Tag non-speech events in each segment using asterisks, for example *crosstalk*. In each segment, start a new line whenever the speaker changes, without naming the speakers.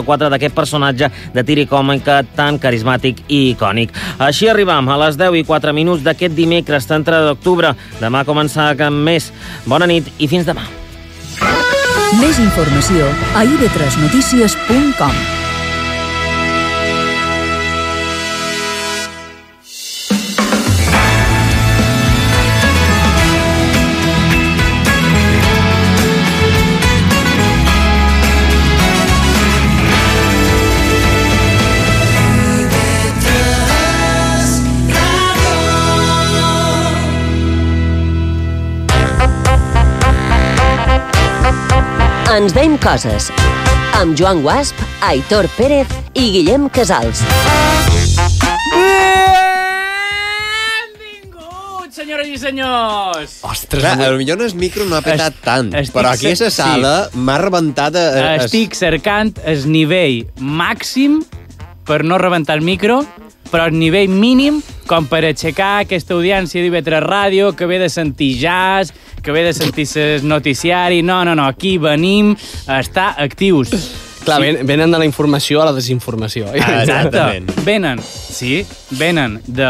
a 4 d'aquest personatge de tiri còmica tan carismàtic i icònic. Així arribam a les 10 i 4 minuts d'aquest dimecres, tan 3 d'octubre. Demà comença amb més. Bona nit i fins demà.
Més informació a ib3notícies.com
Ens veiem coses. Amb Joan Guasp, Aitor Pérez i Guillem Casals.
Benvinguts, senyores i senyors!
Ostres, Clar, a lo millor en el micro no ha petat tant,
estic
però aquí a
se- Ah,
la sala m'ha rebentat... eh, A, a, a-
Estic cercant el nivell màxim per no rebentar el micro, però el nivell mínim com per aixecar aquesta audiència d'IV3 Ràdio que ve de sentir jazz, que ve de sentir ses noticiari... No, no, no, aquí venim a estar actius.
Clar, ven, venen de la informació a la desinformació.
Ah,
Exacte.
Exactament.
Venen, sí, venen de,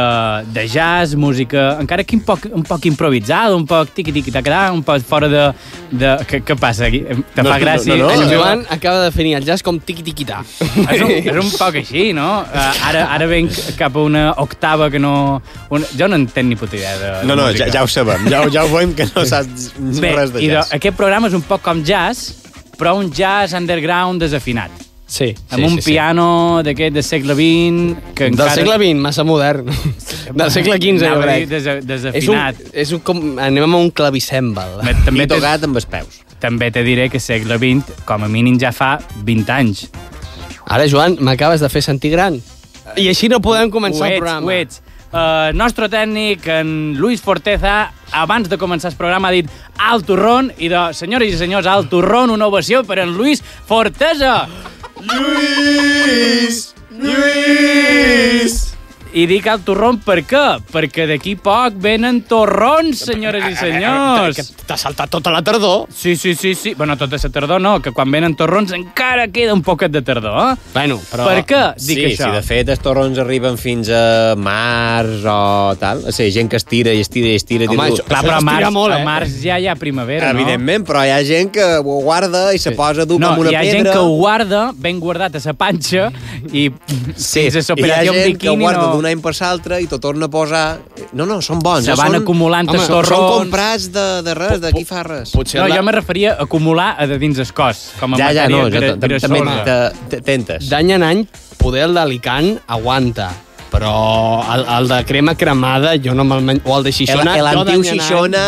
de jazz, música, encara que un poc, un poc improvisada, un poc tiqui-tiqui-tacadà, un poc fora de... de... Què, què passa aquí? Te fa
No, no,
gràcia?
no, no,
En
no.
Joan acaba de definir el jazz com tiqui-tiqui-ta.
*laughs* És un, és un poc així, no? Eh, ara, ara venc cap a una octava que no... Una... Jo no en tenc ni puta idea de, de
No, no,
música.
ja, ja ho sabem, ja, ho- ja ho veiem que no saps
Bé,
res
i
de
eh,
jazz.
aquest programa és un poc com jazz, però un jazz underground desafinat.
Sí, sí,
Amb un
sí,
piano d'aquest del segle XX... Que
Sí. Del
encara...
segle XX, massa modern. Del segle XV, jo
Anava a dir
crec.
desa-
És un,
desafinat.
és un com, anem amb un clavicèmbal.
Me-
I
També te,
tocat amb els peus.
també te diré que segle XX, com a mínim ja fa 20 anys.
Ara, Joan, m'acabes de fer sentir gran. I així no podem
Eh, ho
començar
ets,
el programa.
Ho ets. Uh, nostre tècnic, en Luis Forteza, abans de començar el programa ha dit al turrón, i de senyores i senyors, al turrón, una ovació per en Luis Forteza.
Lluís! Lluís!
I dic al turrón per què? Perquè d'aquí poc venen torrons,
*laughs*
senyores i senyors.
Que t'ha saltat tota la tardor.
Sí, sí, sí, sí. Bueno, tota la tardor no, que quan venen torrons encara queda un poquet de tardor, eh?
Bueno, però...
Per què dic
sí,
això?
Sí, de fet, els torrons arriben fins a març o tal. O sigui, gent que estira i estira i estira. i
Home,
diu,
això-
Clar, però a
estira
març,
molt,
a
eh?
març ja hi ha primavera, no?
Evidentment, però hi ha gent que ho guarda i se posa dur
no,
com una
hi ha
pedra.
gent que ho guarda ben guardat a sa panxa i sí, fins a
hi ha
s'operació en
gent que ho
biquini
guarda d'un
no...
any per l'altre i t'ho torna a posar... No, no, són bons.
Se
ja
van
són...
acumulant
Home,
els
són
torrons.
Són comprats de, de res, d'aquí fa res.
Potser
No,
la-
jo me referia a acumular a de dins el cos, com a
Ja, ja,
matèria
no, jo
gra-
ta- també
grassosa.
te- te- tentes.
d'any en any, poder el d'Alicant aguanta, però el, el de crema cremada jo no me'l menjo, o el de
El-
Xixona... jo d'any
L'antiu
en any-
Xixona...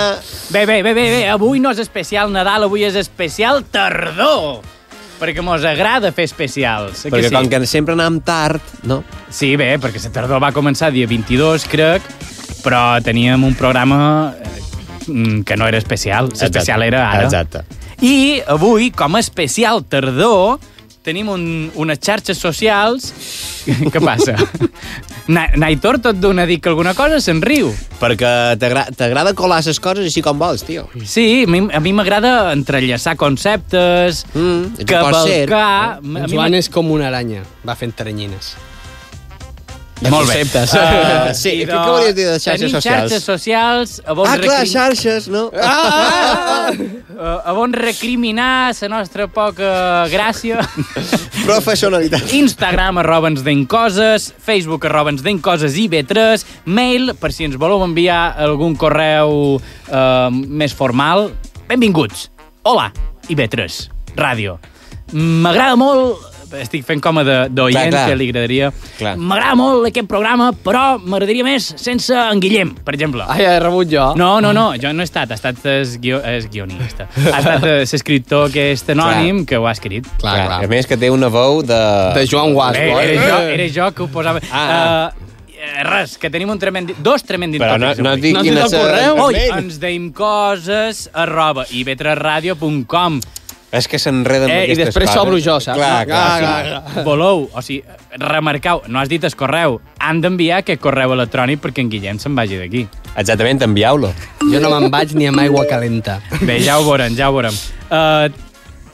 Bé, bé, bé, bé, bé, avui no és especial Nadal, avui és especial tardor. Perquè mos agrada fer especials. eh que
Perquè
sí?
com que sempre anàvem tard, no?
Sí, bé, perquè la tardor va començar dia 22, crec, però teníem un programa eh, mm, que no era especial. L'especial era ara.
Exacte.
I avui, com a especial tardor, tenim un, unes xarxes socials... *laughs* Què passa?
*laughs*
Na Naitor tot d'una dic alguna cosa se'n riu.
Perquè t'agra- t'agrada colar les coses així com vols, tio.
Sí, a mi a mi m'agrada entrellaçar conceptes,
Mm, ets un corser.
cavalcar...
En
a mi
Joan és com una aranya, va fent teranyines. De
Molt bé.
conceptes.
Ah,
*laughs* Sí,
i
què- què volies dir de xarxes
tenim
socials?
xarxes socials a bon,
Ah, clar,
recrim...
xarxes, no?
Ah!
Eh, a bon recriminar la nostra poca
*laughs*
gràcia.
*laughs* Professionalitat.
Instagram arroba ens den coses, Facebook arroba ens den coses i B3, mail per si ens voleu enviar algun correu eh, més formal. Benvinguts. Hola, i B3, ràdio. M'agrada molt estic fent com a de-
Clar,
d'oient,
clar.
que li agradaria.
Clar.
M'agrada molt aquest programa, però m'agradaria més sense en Guillem, per exemple.
*laughs* Ai, he rebut jo.
No, no, no, jo no he estat, ha estat el guio, es guionista. Ha estat eh, l'escriptor que és anònim que ho ha escrit.
Clar, clar.
A més que té una veu de...
De Joan Guas,
Eh,
eh,
era, jo, era jo que ho posava...
Ah.
Eh, eh, res, que tenim un tremend... dos tremendins
Però no,
tòpics
no
avui.
dic
No has dit
quina
el correu?
Oi,
Oi,
ens deim coses arroba ivetresradio.com
És que s'enreden amb
Eh, I
aquestes
després
coses.
s'obro jo, saps?
Clar, clar,
Ah,
clar.
clar, clar.
Voleu, o sigui, remarcau, no has dit el correu, han d'enviar aquest correu electrònic perquè en Guillem se'n vagi d'aquí.
Exactament, envieu-lo.
Jo no me'n vaig ni amb aigua calenta.
Bé, ja ho veurem, ja ho veurem. Uh,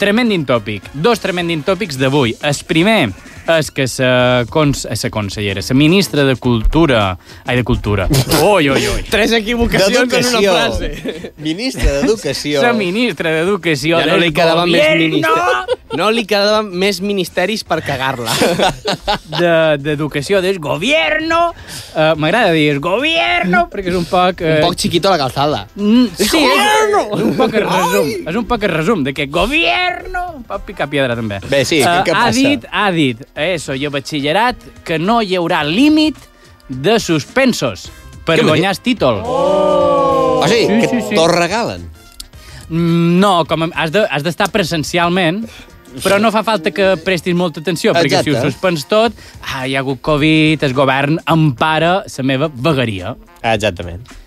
Tremendin tòpic. Dos tremendin tòpics d'avui. El primer és que la cons eh, sa consellera, la ministra de Cultura... Ai, de Cultura. Ui, ui, ui.
Tres equivocacions en una
D'educació.
frase.
Ministra d'Educació.
La ministra d'Educació
Ja no
del
li quedaven més
gobierno
ministeris. No li quedaven més ministeris per cagar-la.
de- d'Educació del Gobierno. Uh, M'agrada dir el Gobierno, perquè és un poc... *laughs* eh,
Un poc xiquito a la calzada.
Mm, sí, és, és un poc el resum. És un poc el resum de que gobierno pot picar piedra, també.
Bé, sí,
Eh,
què- què
ha
passa?
dit, ha dit, eso, jo batxillerat, que no hi haurà límit de suspensos per
Què m'ha
guanyar el títol. Oh.
O sigui,
Sí,
Ah, que
sí, sí.
t'ho regalen.
Mm, No, com a, has de- has d'estar de, presencialment, però no fa falta que prestis molta atenció, perquè si ho
Exacte.
suspens tot, ah, hi ha hagut Covid, el govern empara la meva vegueria.
Ah, Exactament.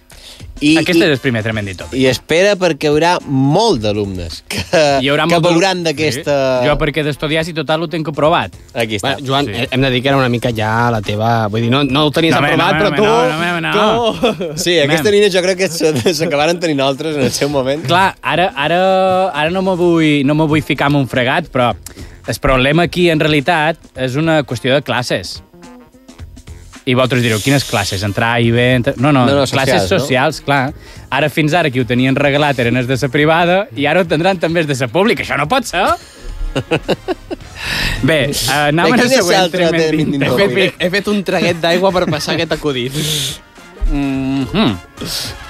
I,
Aquest
i,
és el primer tremendit tòpic.
I espera perquè hi haurà molt d'alumnes que,
Hi haurà
que
molt-
veuran d'aquesta...
Sí. Jo perquè d'estudiar, si total, ho tenc aprovat.
Aquí està.
Bueno, Joan,
Sí.
sí. hem de dir que era una mica ja la teva... Vull dir, no, no ho tenies
No, home,
aprovat,
no,
però
home,
tu...
no, no, home, no.
tu...
Sí, aquesta nina jo crec que *laughs* se- s'acabaran tenint altres en el seu moment.
Clar, ara, ara, ara no me vull, no me vull ficar en un fregat, però el problema aquí, en realitat, és una qüestió de classes. I vosaltres direu, quines classes? Entrar A i B... Entrar... No, no,
No, no,
classes
socials, no?
socials, clar. Ara, fins ara, qui ho tenien regalat eren els de la privada i ara ho tindran també els de la pública. Això no
*laughs*
pot ser! Bé, eh,
Bé,
anàvem al
quin és
següent
l'altre
tremendint.
termini
He
No,
fet,
mira.
he fet un traguet d'aigua per passar aquest
*laughs*
acudit.
Mhm.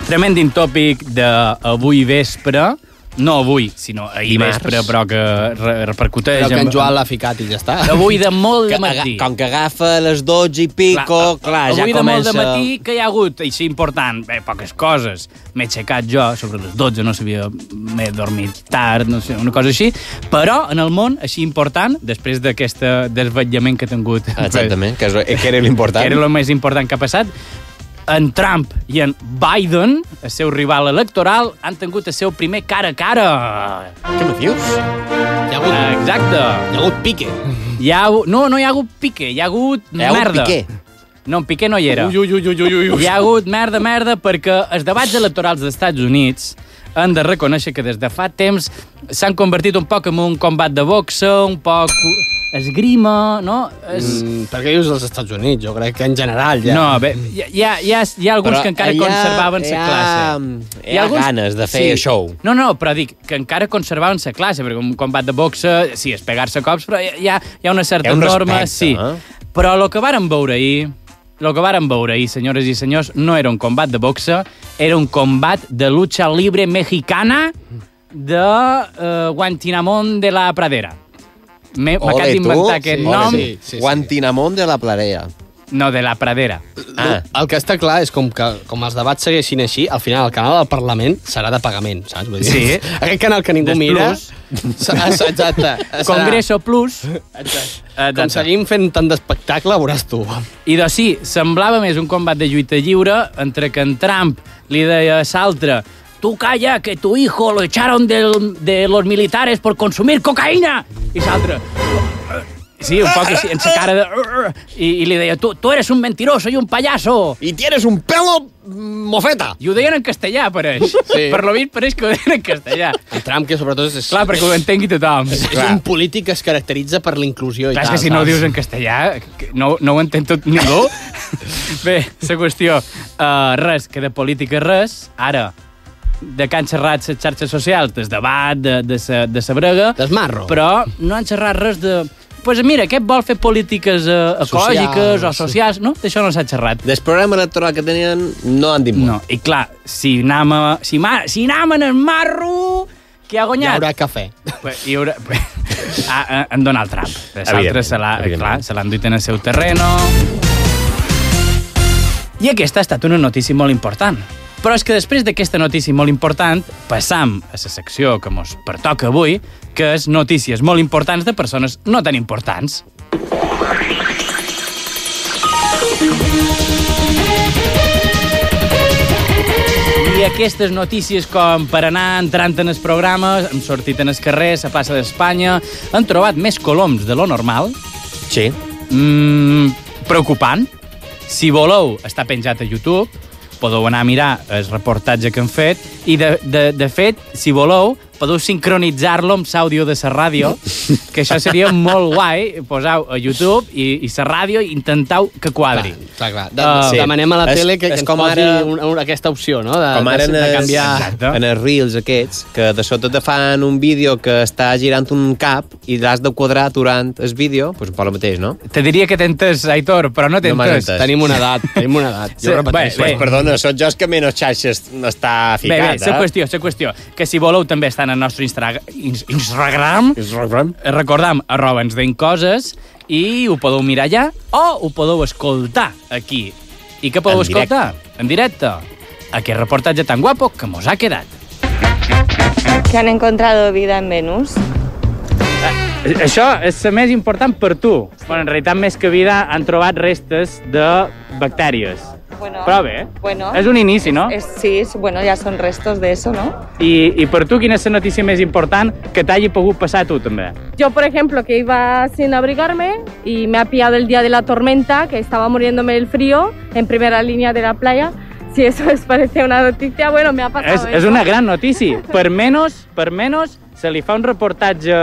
Tremendin tòpic d'avui vespre, no avui, sinó ahir
Dimarts.
vespre, però que re repercuteix...
Però que en
amb-
Joan l'ha ficat i ja està.
D'avui de molt de
Que, aga,
matí.
com que agafa les 12 i pico, clar, clar ja eh,
avui de molt
comença...
de matí, que hi ha hagut? Així important, bé, poques coses. M'he aixecat jo, sobre les 12, no sabia, m'he dormit tard, no sé, una cosa així. Però en el món, així important, després d'aquest desvetllament que he tingut...
Exactament, que, és, que era l'important.
que era el més important que ha passat, en Trump i en Biden, el seu rival electoral, han tingut el seu primer cara a cara.
Què me dius?
Hi ha hagut,
Exacte.
hi ha hagut pique.
Hi ha, hagut- no, no hi ha hagut pique, hi ha hagut
Hi ha hagut
merda.
piqué?
No, en piqué no hi era.
Ui, ui, ui, ui, ui, ui, ui.
Hi ha hagut merda, merda, perquè els debats electorals dels Estats Units han de reconèixer que des de fa temps s'han convertit un poc en un combat de boxa, un poc esgrima, no? Es...
Mm, per què dius els Estats Units? Jo crec que en general ja...
No, bé, hi ha, hi ha, hi ha, hi ha alguns
Però
que encara
hi ha-
conservaven
hi
la
ha-
classe.
hi ha ganes de fer show.
No, no, però dic que encara conservaven la classe, perquè un combat de boxa, sí, és pegar-se cops, però hi ha, hi ha una certa
Hi ha un
norma,
respecte,
sí.
eh?
Però el que varen veure ahir, el que varen veure ahir, senyores i senyors, no era un combat de boxa, era un combat de lucha libre mexicana de eh, Guantinamón de la Pradera. M'he m'he acabat d'inventar aquest
sí.
nom.
Sí, sí, sí. Guantinamón de la Plarea.
No, de la Pradera.
Ah,
El que està clar és com que com els debats segueixin així, al final el canal del Parlament serà de pagament, saps? Vull dir,
Sí.
*laughs* Aquest canal que ningú
Des
mira...
Plus. *laughs*
Serà, exacte. Serà,
Congreso Plus. Exacte.
Com seguim fent tant d'espectacle, veuràs tu.
I doncs sí, semblava més un combat de lluita lliure entre que en Trump li deia a l'altre tu calla, que tu hijo lo echaron del, de los militares por consumir cocaína. I l'altre... Sí, un poc així, en sa cara de... "Eh, I, i li deia, tu, tu eres un mentiroso i un payaso.
I tienes un pelo mm, mofeta.
I ho deien en castellà, pareix. Sí.
Sí.
Per lo vist, pareix que ho deien en castellà.
El Trump, que sobretot és...
Clar, perquè ho entengui tothom.
és, és un polític que es caracteritza per la inclusió i
Clar, és
tal.
que si no ho
saps?
dius en castellà, que no, no ho entén tot
*laughs*
ningú. Bé, la qüestió, uh, res, que de política res, ara, de que han xerrat les xarxes socials, des debat, de, de, sa, de sa brega,
Desmarro.
però no han xerrat res de... Pues mira, aquest vol fer polítiques eh, ecològiques o
Socials.
socials, no? D'això no s'ha xerrat.
Del programa electoral que tenien no han dit molt.
No, i clar, si anam, a, si, ma, si anam en el marro, qui ha
Hi
guanyat?
haurà cafè.
Pues, hi haurà... *laughs* a, a, en Donald Trump. Les
Evidentment,
altres se l'ha-
evidentment.
clar, se l'han duit en el seu terreno. I aquesta ha estat una notícia molt important. Però és que després d'aquesta notícia molt important, passam a la secció que mos pertoca avui, que és notícies molt importants de persones no tan importants. I aquestes notícies com per anar entrant en els programes, hem sortit en el carrer, a la plaça d'Espanya, han trobat més coloms de lo normal,
Sí.
Mm, preocupant. Si voleu, està penjat a YouTube, podeu anar a mirar el reportatge que hem fet, i de, de, de fet, si voleu, podeu sincronitzar-lo amb l'àudio de la ràdio, que això seria molt guai. Posau a YouTube i, i la ràdio i intentau que quadri.
Clar, clar. De,
Ah.
sí. Demanem a la
És-
tele que, que
és
ens
com
com posi
ara-
ara... una, una, aquesta opció, no? De,
Com ara
de,
en
de
els,
canviar...
Exacte.
en els reels aquests, que de sota te fan un vídeo que està girant un cap i l'has de quadrar durant el vídeo, doncs un poc el mateix, no?
Te diria que t'entes, Aitor, però no
No m'has
t'entes.
entès.
Tenim una edat, tenim una edat.
Sí,
Jo ho repeteixo.
bé,
Pues, perdona, sóc jo el que menys xarxes està
Bé, bé,
ficat, eh?
la qüestió, la qüestió, que si voleu també estan al nostre Instra- Ins- Instagram,
eh?
recordam, arroba ens deim coses, i ho podeu mirar allà o ho podeu escoltar aquí. I què podeu
En directe.
escoltar? En directe. Aquest reportatge tan guapo que mos ha quedat.
que han encontrado vida en Venus.
Eh, Això és la més important per tu. Bueno, en realitat, més que vida, han trobat restes de bactèries.
Bueno,
Però bé, eh?
Bueno,
és un inici, no?
es- sí, es- bueno, ya son restos de eso, ¿no?
I, I per tu, quina és la notícia més important que t'hagi pogut passar a tu, també?
Yo, por ejemplo, que iba sin abrigarme y me ha pillado el día de la tormenta, que estaba muriéndome del frío en primera línea de la playa. Si eso *laughs* les parece una noticia, bueno, me ha pasado.
És, és
eso.
una gran notícia. Per menys, per menys, se li fa un reportatge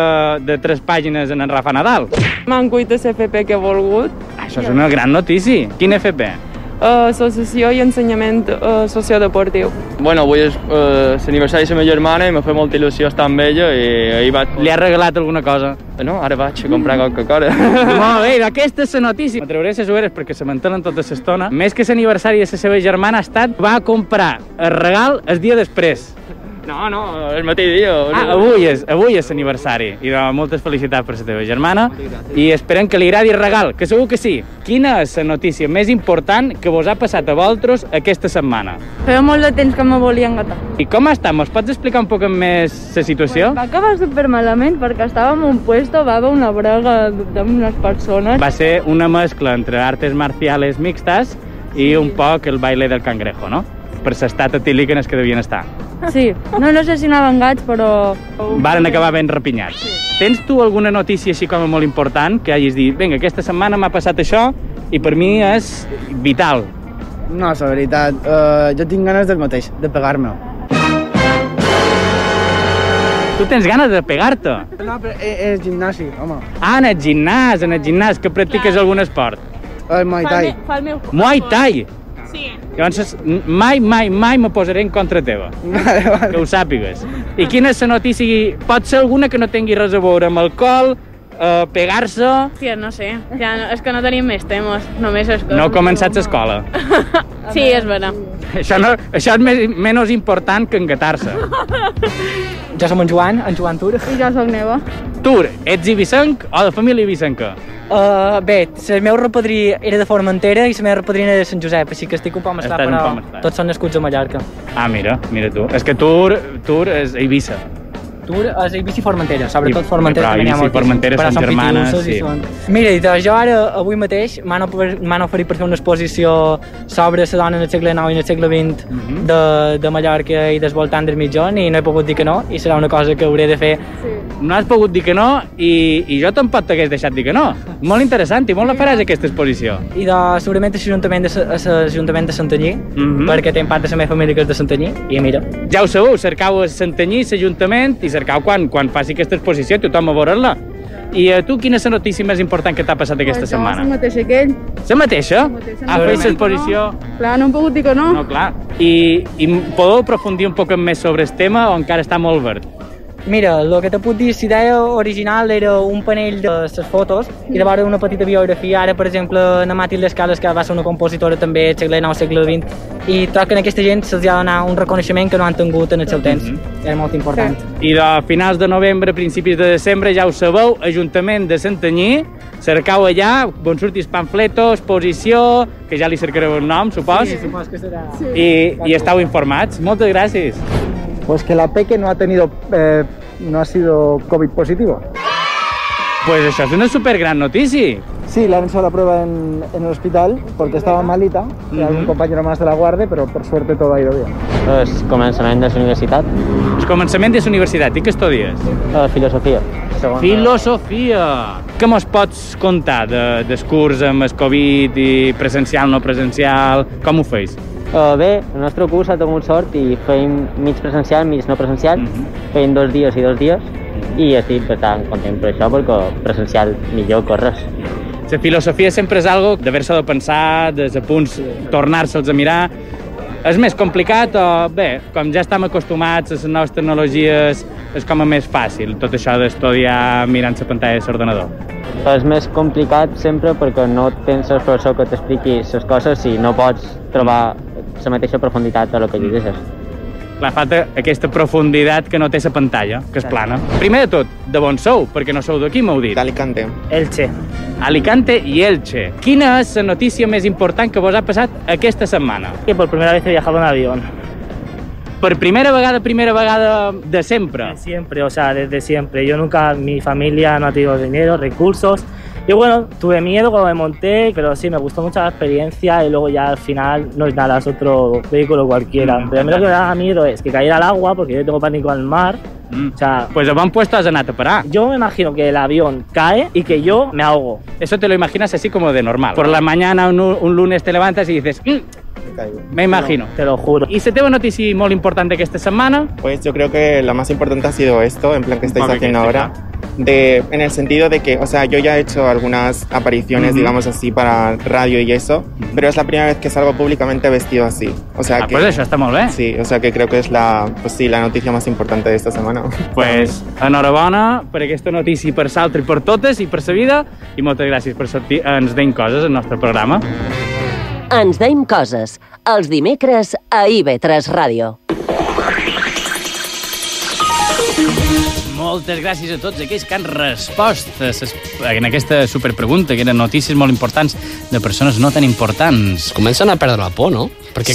de tres pàgines en en Rafa Nadal.
M'han cuit el FP que he volgut,
Això és una gran notícia. Quin FP?
eh, associació i ensenyament eh, sociodeportiu.
Bueno, avui és eh, l'aniversari de la meva germana i me fa molta il·lusió estar amb ella i ahir vaig...
Li ha regalat alguna cosa?
No, ara vaig a comprar Coca-Cola. *laughs*
Molt bé, aquesta és la notícia. Me trauré les ulleres perquè se mantenen tota l'estona. Més que l'aniversari de la seva germana ha estat, va comprar el regal el dia després.
No, no, el mateix dia.
Ah, avui és, avui és l'aniversari. I doncs, moltes felicitats per la teva germana. I esperem que li agradi el regal, que segur que sí. Quina és la notícia més important que vos ha passat a vosaltres aquesta setmana?
Feia molt de temps que me volia engatar.
I com està? Mos pots explicar un poc més la situació?
Va acabar super malament perquè estàvem a un puesto, va haver una brega d'unes persones.
Va ser una mescla entre artes marciales mixtes i un poc el baile del cangrejo, no? Per l'estat etílic en el que devien estar.
Sí, no, no sé si anaven gats, però...
Varen acabar ben repinyats. Tens tu alguna notícia així com a molt important que hagis dit, vinga, aquesta setmana m'ha passat això i per mi és vital,
No, la veritat, uh, jo tinc ganes del mateix, de pegar-me.
Tu tens ganes de pegar-te.
No, però és, és gimnasi, home.
Ah, en el gimnàs, en el gimnàs, que practiques algun esport.
El Muay Thai.
Fa el meu...
Muay Thai. Llavors, n- mai, mai, mai me posaré en contra
*laughs*
teva,
Vale, vale.
que ho sàpigues. I quina és la notícia? Pot ser alguna que no tingui res a veure amb alcohol, eh, pegar-se...
Hòstia, no sé, ja no, és que no tenim més temes, només és
No començats a escola.
Sí, és vera.
Això, no, això és més, menys important que engatar-se.
Jo som en Joan, en Joan Tur.
I jo sóc neva.
Tu, ets ibicenc o de família ibicenca?
Uh, bé, el meu repadrí era de Formentera i la meva repadrina era de Sant Josep, així que estic un poc
Estàs un poc mesclat.
tots són nascuts a Mallorca.
Ah, mira, mira tu. És que Tur, Tur és a Eivissa.
Tur és Eivissa i Formentera,
I-
sobretot Formentera.
però
també n'hi ha
Eivissa i
moltíssim.
Formentera
Però
són
són
germanes,
pitjussos i
sí.
són- Mira, i de- jo ara, avui mateix, m'han ofer- m'han oferit per fer una exposició sobre la dona en el segle IX i en el segle XX
Mhm.
de, de Mallorca i del voltant del mitjón i no he pogut dir que no i serà una cosa que hauré de fer
No has pogut dir que no i, i jo tampoc t'hagués deixat dir que no. Molt interessant i molt la faràs aquesta exposició.
i de, segurament a l'Ajuntament de, Sa- a l'Ajuntament de Santanyí
Mhm.
perquè té part de la meva família que és de Santanyí i mira,
Ja ho sabeu, cercau a Santanyí, l'Ajuntament, i cercau quan, quan faci aquesta exposició, tothom a veure-la. I a tu, quina és la notícia més important que t'ha passat aquesta
Doncs Jo
setmana?
mateix aquell.
La mateixa? Ha fet l'exposició?
Clar, no hem pogut dir que no.
No, clar. I, I podeu aprofundir un poc més sobre el tema o encara està molt verd?
Mira, el que te puc dir, la idea original era un panell de les fotos i de veure una petita biografia. Ara, per exemple, Ana Matilde Escales, que va ser una compositora també al segle XIX, segle XX, i troc que en aquesta gent se'ls ha de donar un reconeixement que no han tingut en el seu temps. Era molt important.
I de finals de novembre, principis de desembre, ja ho sabeu, Ajuntament de Santanyí, cercau allà, on surtis pamfletos, exposició, que ja li cercareu un nom, supos, sí,
Suposo que serà...
i, i esteu informats. Moltes gràcies.
Pues que la Peque no ha tenido... Eh, no ha sido COVID positivo.
pues això és una supergran notícia.
Sí, la han hecho la prueba en, en el hospital porque estaba malita.
Era un Ujú.
compañero más de la guardia, pero por suerte todo ha ido bien.
És
Doncs
començament de la universitat,
El començament de la universitat, i què estudies?
eh, filosofia.
Filosofia. Què mos pots contar de, del curs amb el Covid i presencial, no presencial? Com ho feis?
Uh, bé, el nostre curs ha tingut sort i feim mig presencial, mig no presencial, mm
Mhm.
-hmm. feim dos dies i dos dies, i estic bastant content per això, perquè presencial millor corres.
La filosofia sempre és algo d'haver-se de pensar, des de punts, tornar-se'ls a mirar. És més complicat o, bé, com ja estem acostumats a les noves tecnologies, és com a més fàcil tot això d'estudiar mirant la pantalla de l'ordenador.
És més complicat sempre perquè no tens el professor que t'expliqui les coses i no pots trobar la mateixa profunditat de lo que llegeixes.
Mm. Clar, falta aquesta profunditat que no té la pantalla, que és plana. Primer de tot, de on sou? Perquè no sou d'aquí, m'heu dit. D'Alicante.
Elche.
Alicante i Elche. Quina és la notícia més important que vos ha passat aquesta setmana?
Que por primera vez he viajado en avión.
Per primera vegada, primera vegada de sempre.
Siempre, o sea, desde siempre. Yo nunca, mi familia no ha tenido dinero, recursos. Y bueno, tuve miedo cuando me monté, pero sí, me gustó mucho la experiencia y luego ya al final no es nada, es otro vehículo cualquiera.
Mm,
pero a mí lo que me
claro.
daba miedo es que cayera al agua, porque yo tengo pánico al mar.
Mm.
O sea,
Pues a bon puesto has anat a parar.
yo me imagino que el avión cae y que yo me ahogo.
Eso te lo imaginas así como de normal. Por la mañana, un, un lunes, te levantas y dices... "Mm, me imagino.
te lo juro.
¿Y se te va noticia muy importante que esta semana?
Pues yo creo que la más importante ha sido esto, en plan que estáis
Vale,
haciendo
que
ahora. De, en el sentido de que, o sea, yo ya he hecho algunas apariciones,
Ujú.
digamos así, para radio y eso, pero es la primera vez que salgo públicamente vestido así. O sea
Mhm. Ah,
que,
pues eso está muy bien.
Sí, o sea que creo que es la, pues sí, la noticia más importante de esta semana.
Pues enhorabona per aquesta notícia i per l'altra i per totes i per la vida i moltes gràcies per sortir a ens deim coses al nostre programa.
Ens deim coses. Els dimecres a IB3 Ràdio.
Moltes gràcies a tots aquells que han respost a ses- en aquesta superpregunta, que eren notícies molt importants de persones no tan importants.
Comencen a perdre la por, no? Perquè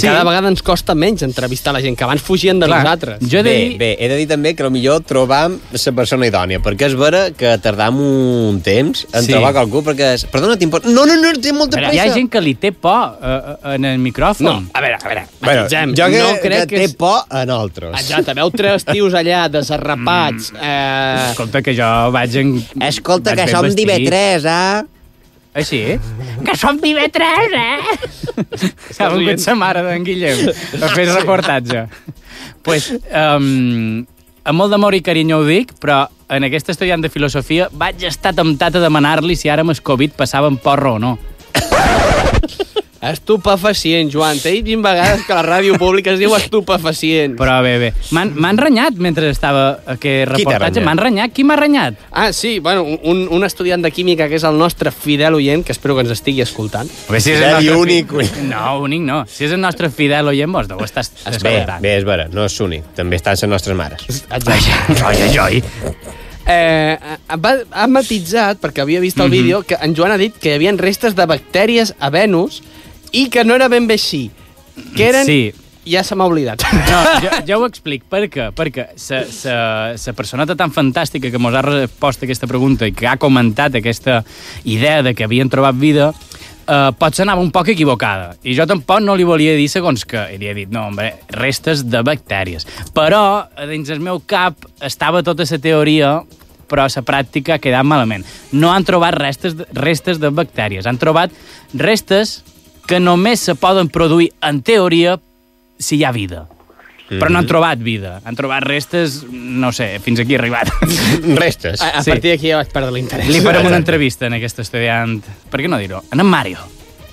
Sí.
sí. cada vegada ens costa menys entrevistar la gent, que abans fugien de Clar, nosaltres.
bé, bé, he de dir també que millor trobam la persona idònia, perquè és vera que tardam un temps en
Sí.
sí. trobar qualcú, perquè és... Perdona, t'importa... No, no, no, té molta
Però
pressa!
hi ha gent que li té por eh, eh, en el micròfon.
No, a veure, a veure.
Bueno,
Gem,
jo que,
no
que,
crec
que,
que
té
és-
por a nosaltres.
Exacte, veu tres tios allà desarrapats. Eh...
Escolta, que jo vaig... En...
Escolta,
vaig ben vestit.
ah?
eh?
Així, eh?
Que som d'IV3, eh?
Ha vingut sa mare d'en Guillem a fer el reportatge. pues, um, amb molt d'amor i carinyo ho dic, però en aquest estudiant de filosofia vaig estar temptat a demanar-li si ara amb el Covid passava en porro o no.
Estupefacient, Joan. T'he dit 20 vegades que la ràdio pública es diu estupefacient.
Però bé, bé. M'han m'han renyat mentre estava aquest
Qui t'ha
reportatge.
renyat?
M'han renyat. Qui m'ha renyat?
Ah, sí, bueno, un, un estudiant de química que és el nostre fidel oient, que espero que ens estigui escoltant.
A veure si és el nostre fi- No, únic no. Si és el nostre fidel oient, vos deu estar
Bé,
escoltant.
bé, és vera, no és únic. També estan les
*laughs*
nostres mares.
Exacte. Ai, ai, ai.
Eh, va, ha matitzat, perquè havia vist el
Mhm.
mm -hmm. vídeo, que en Joan ha dit que hi havia restes de bactèries a Venus i que no era ben bé així. Que eren...
Sí.
Ja se m'ha oblidat.
*laughs* No, jo, jo ho explic. Per què? Perquè sa, sa, sa personeta tan fantàstica que mos ha respost aquesta pregunta i que ha comentat aquesta idea de que havien trobat vida, eh, potser anava un poc equivocada. I jo tampoc no li volia dir segons que. I li he dit, no, home, restes de bactèries. Però, eh, dins el meu cap, estava tota la teoria però la pràctica ha quedat malament. No han trobat restes, de- restes de bactèries, han trobat restes que només se poden produir, en teoria, si hi ha vida. Però no han trobat vida. Han trobat restes, no sé, fins aquí he arribat.
Restes.
A, a
Sí.
partir d'aquí ja vaig perdre l'interès.
Li farem una entrevista en aquest estudiant, per què no dir-ho? En en Mario.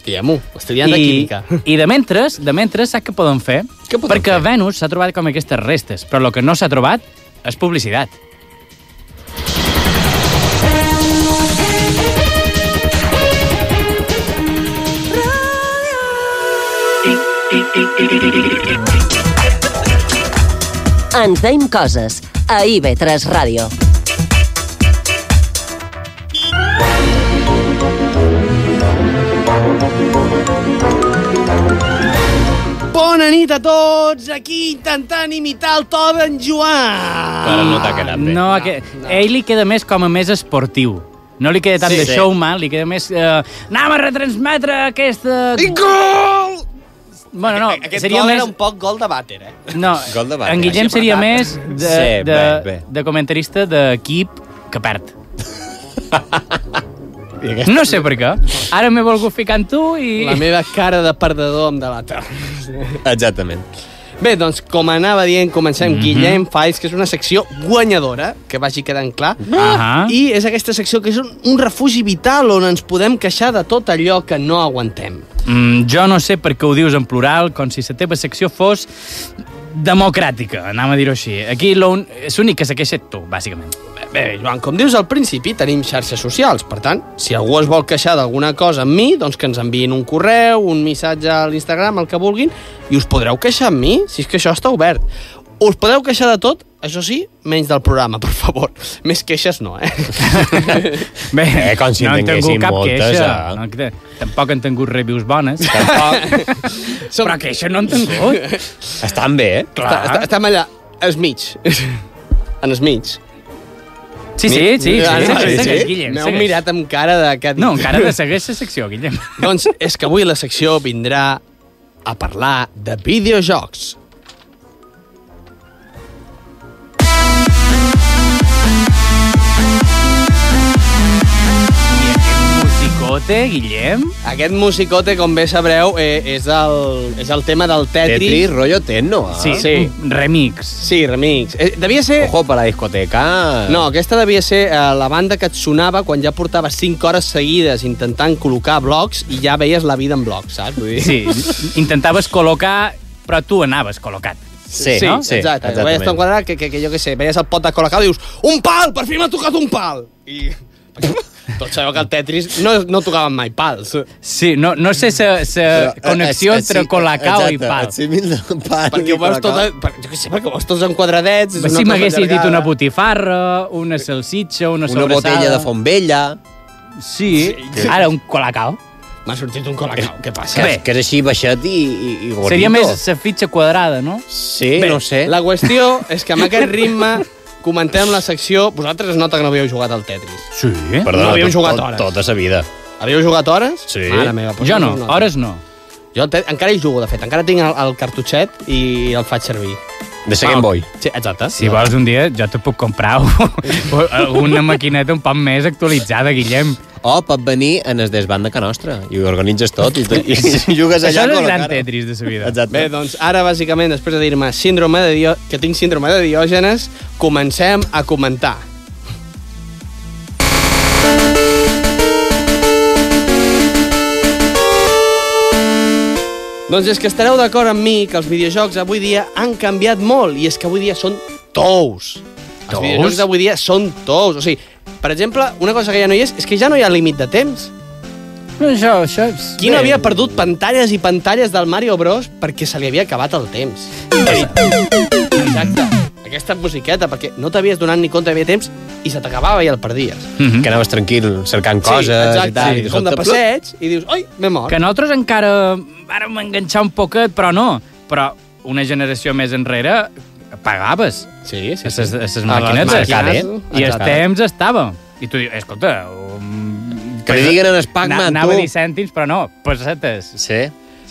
Guillem-ho, estudiant de química.
*laughs* I de mentres, de mentres, saps què poden fer? Què
poden
Perquè fer? Venus s'ha trobat com aquestes restes, però el que no s'ha trobat és publicitat.
Ens deim coses a IB3 Ràdio.
Bona nit a tots, aquí intentant imitar el to d'en Joan.
Ah. Però no t'ha quedat bé. No, que... no. Ell li queda més com a més esportiu. No li queda tant
Sí.
sí, de
Sí.
showman, li queda més... Eh, anem a retransmetre aquesta... I
gol!
Bueno, no,
Aquest
seria
gol
més...
era un poc gol de vàter, eh?
No,
Gol de Barca.
en Guillem
Així
seria
apretat.
més de,
Sí,
de,
bé, bé.
de comentarista d'equip que perd. No sé per què. Ara m'he volgut ficar en tu i...
La meva cara de perdedor em delata. Exactament.
Exactament.
Bé, doncs, com anava dient, comencem mm
Mhm.
-hmm. Guillem Files, que és una secció guanyadora, que vagi quedant clar,
Ahà.
i és aquesta secció que és un, un refugi vital on ens podem queixar de tot allò que no aguantem.
Mm, jo no sé per què ho dius en plural, com si la teva secció fos democràtica, anam a dir-ho així. Aquí l'un- és l'únic que se queixa ets tu, bàsicament.
Bé, Joan, com dius al principi, tenim xarxes socials, per tant, si algú es vol queixar d'alguna cosa amb mi, doncs que ens enviïn un correu, un missatge a l'Instagram, el que vulguin, i us podreu queixar amb mi, si és que això està obert. Us podeu queixar de tot, això sí, menys del programa, per favor. *laughs* Més queixes no,
*laughs*
eh?
Bé,
Eh, com si en
no han tingut
tinguéssim
cap
moltes,
queixa.
eh?
No, que- tampoc han tingut reviews bones. Tampoc. Però queixa no han tingut.
Estan bé, eh?
Està, està, estem allà, al mig. *laughs* en el mig.
Sí, sí, sí, sí,
Ah,
segueix, segueix, Guillem,
M'heu
segueix.
mirat amb cara de... Que
No, encara de segueix la secció, Guillem.
*laughs* doncs és que avui la secció vindrà a parlar de videojocs.
Musicote, Guillem.
Aquest musicote, com bé sabreu, eh, és, el, és el tema del Tetris.
Tetris, rollo Tecno. ah.
Sí. sí.
Remix.
Sí, remix. Eh, devia ser...
Ojo per la discoteca.
No, aquesta devia ser eh, la banda que et sonava quan ja portava 5 hores seguides intentant col·locar blocs i ja veies la vida en blocs, saps? Vull dir...
Sí, intentaves col·locar, però tu anaves col·locat.
exacte. Veies tot quadrat, que, que, que jo què sé, veies el pot de col·locar i dius un pal, per fi m'ha tocat un pal! I... *laughs* Tots sabeu que el Tetris no, no tocaven mai pals.
Sí, no, no sé sa, sa
eh,
connexió Eh, entre Colacao i Pal.
pal
perquè ho
i
veus tota tot...
Colacao.
en- Per, jo què sé, perquè ho veus tots en quadradets...
Si
és una cosa
m'haguessis dit
allargada.
una botifarra, una salsitxa, una
Una
sobrassada...
botella de font vella.
Sí,
Sí.
ara un colacao.
M'ha sortit un colacao, què passa?
Que, és- que és així baixet i, i, i gordito.
Seria més la fitxa quadrada, no?
Sí, no sé.
La qüestió és que amb aquest ritme comentem la secció... Vosaltres es nota que no havíeu jugat al Tetris.
Sí.
Perdona,
No havíem
tot-
jugat
tot-
hores.
Tota sa vida.
Havíeu jugat hores?
Sí.
Mare meva, doncs
Jo no,
hores no.
Jo al Tetris encara hi jugo, de fet. Encara tinc el, el cartutxet i el faig servir.
De
sa Game Boy.
Sí, exacte.
Si vols un dia, jo te puc comprar *laughs* un- una maquineta un poc més actualitzada, Guillem.
O Oh, pot venir en el desband de Can Nostra i ho organitzes tot i, tu, i, i *laughs* jugues allà.
Això és el
con la
gran
cara.
Tetris de sa vida.
Exacte.
Bé, doncs ara, bàsicament, després de dir-me síndrome de Dio... que tinc síndrome de diògenes, comencem a comentar. Doncs és que estareu d'acord amb mi que els videojocs avui dia han canviat molt i és que avui dia són tous. Els
Tous?
videojocs d'avui dia són tous. O sigui, per exemple, una cosa que ja no hi és és que ja no hi ha límit de temps.
No, això, això és...
Qui no havia perdut pantalles i pantalles del Mario Bros perquè se li havia acabat el temps? Exacte. Aquesta musiqueta, perquè no t'havies donat ni compte, hi havia temps, i se t'acabava i el perdies.
Que anaves tranquil, cercant coses
doncs. exacte.
i tal.
Sí, com de passeig, i dius, oi, m'he mort.
Que nosaltres encara vàrem enganxar un poquet, però no. Però una generació més enrere pagaves.
Sí,
A
sí.
ses, a ses
A les
maquinetes.
màquines.
I el
Exacte.
temps estava. I tu dius, escolta... Um,
Que li diguen en el Pac-Man,
na- Anava
tu.
a dir cèntims, però no, pessetes.
Sí.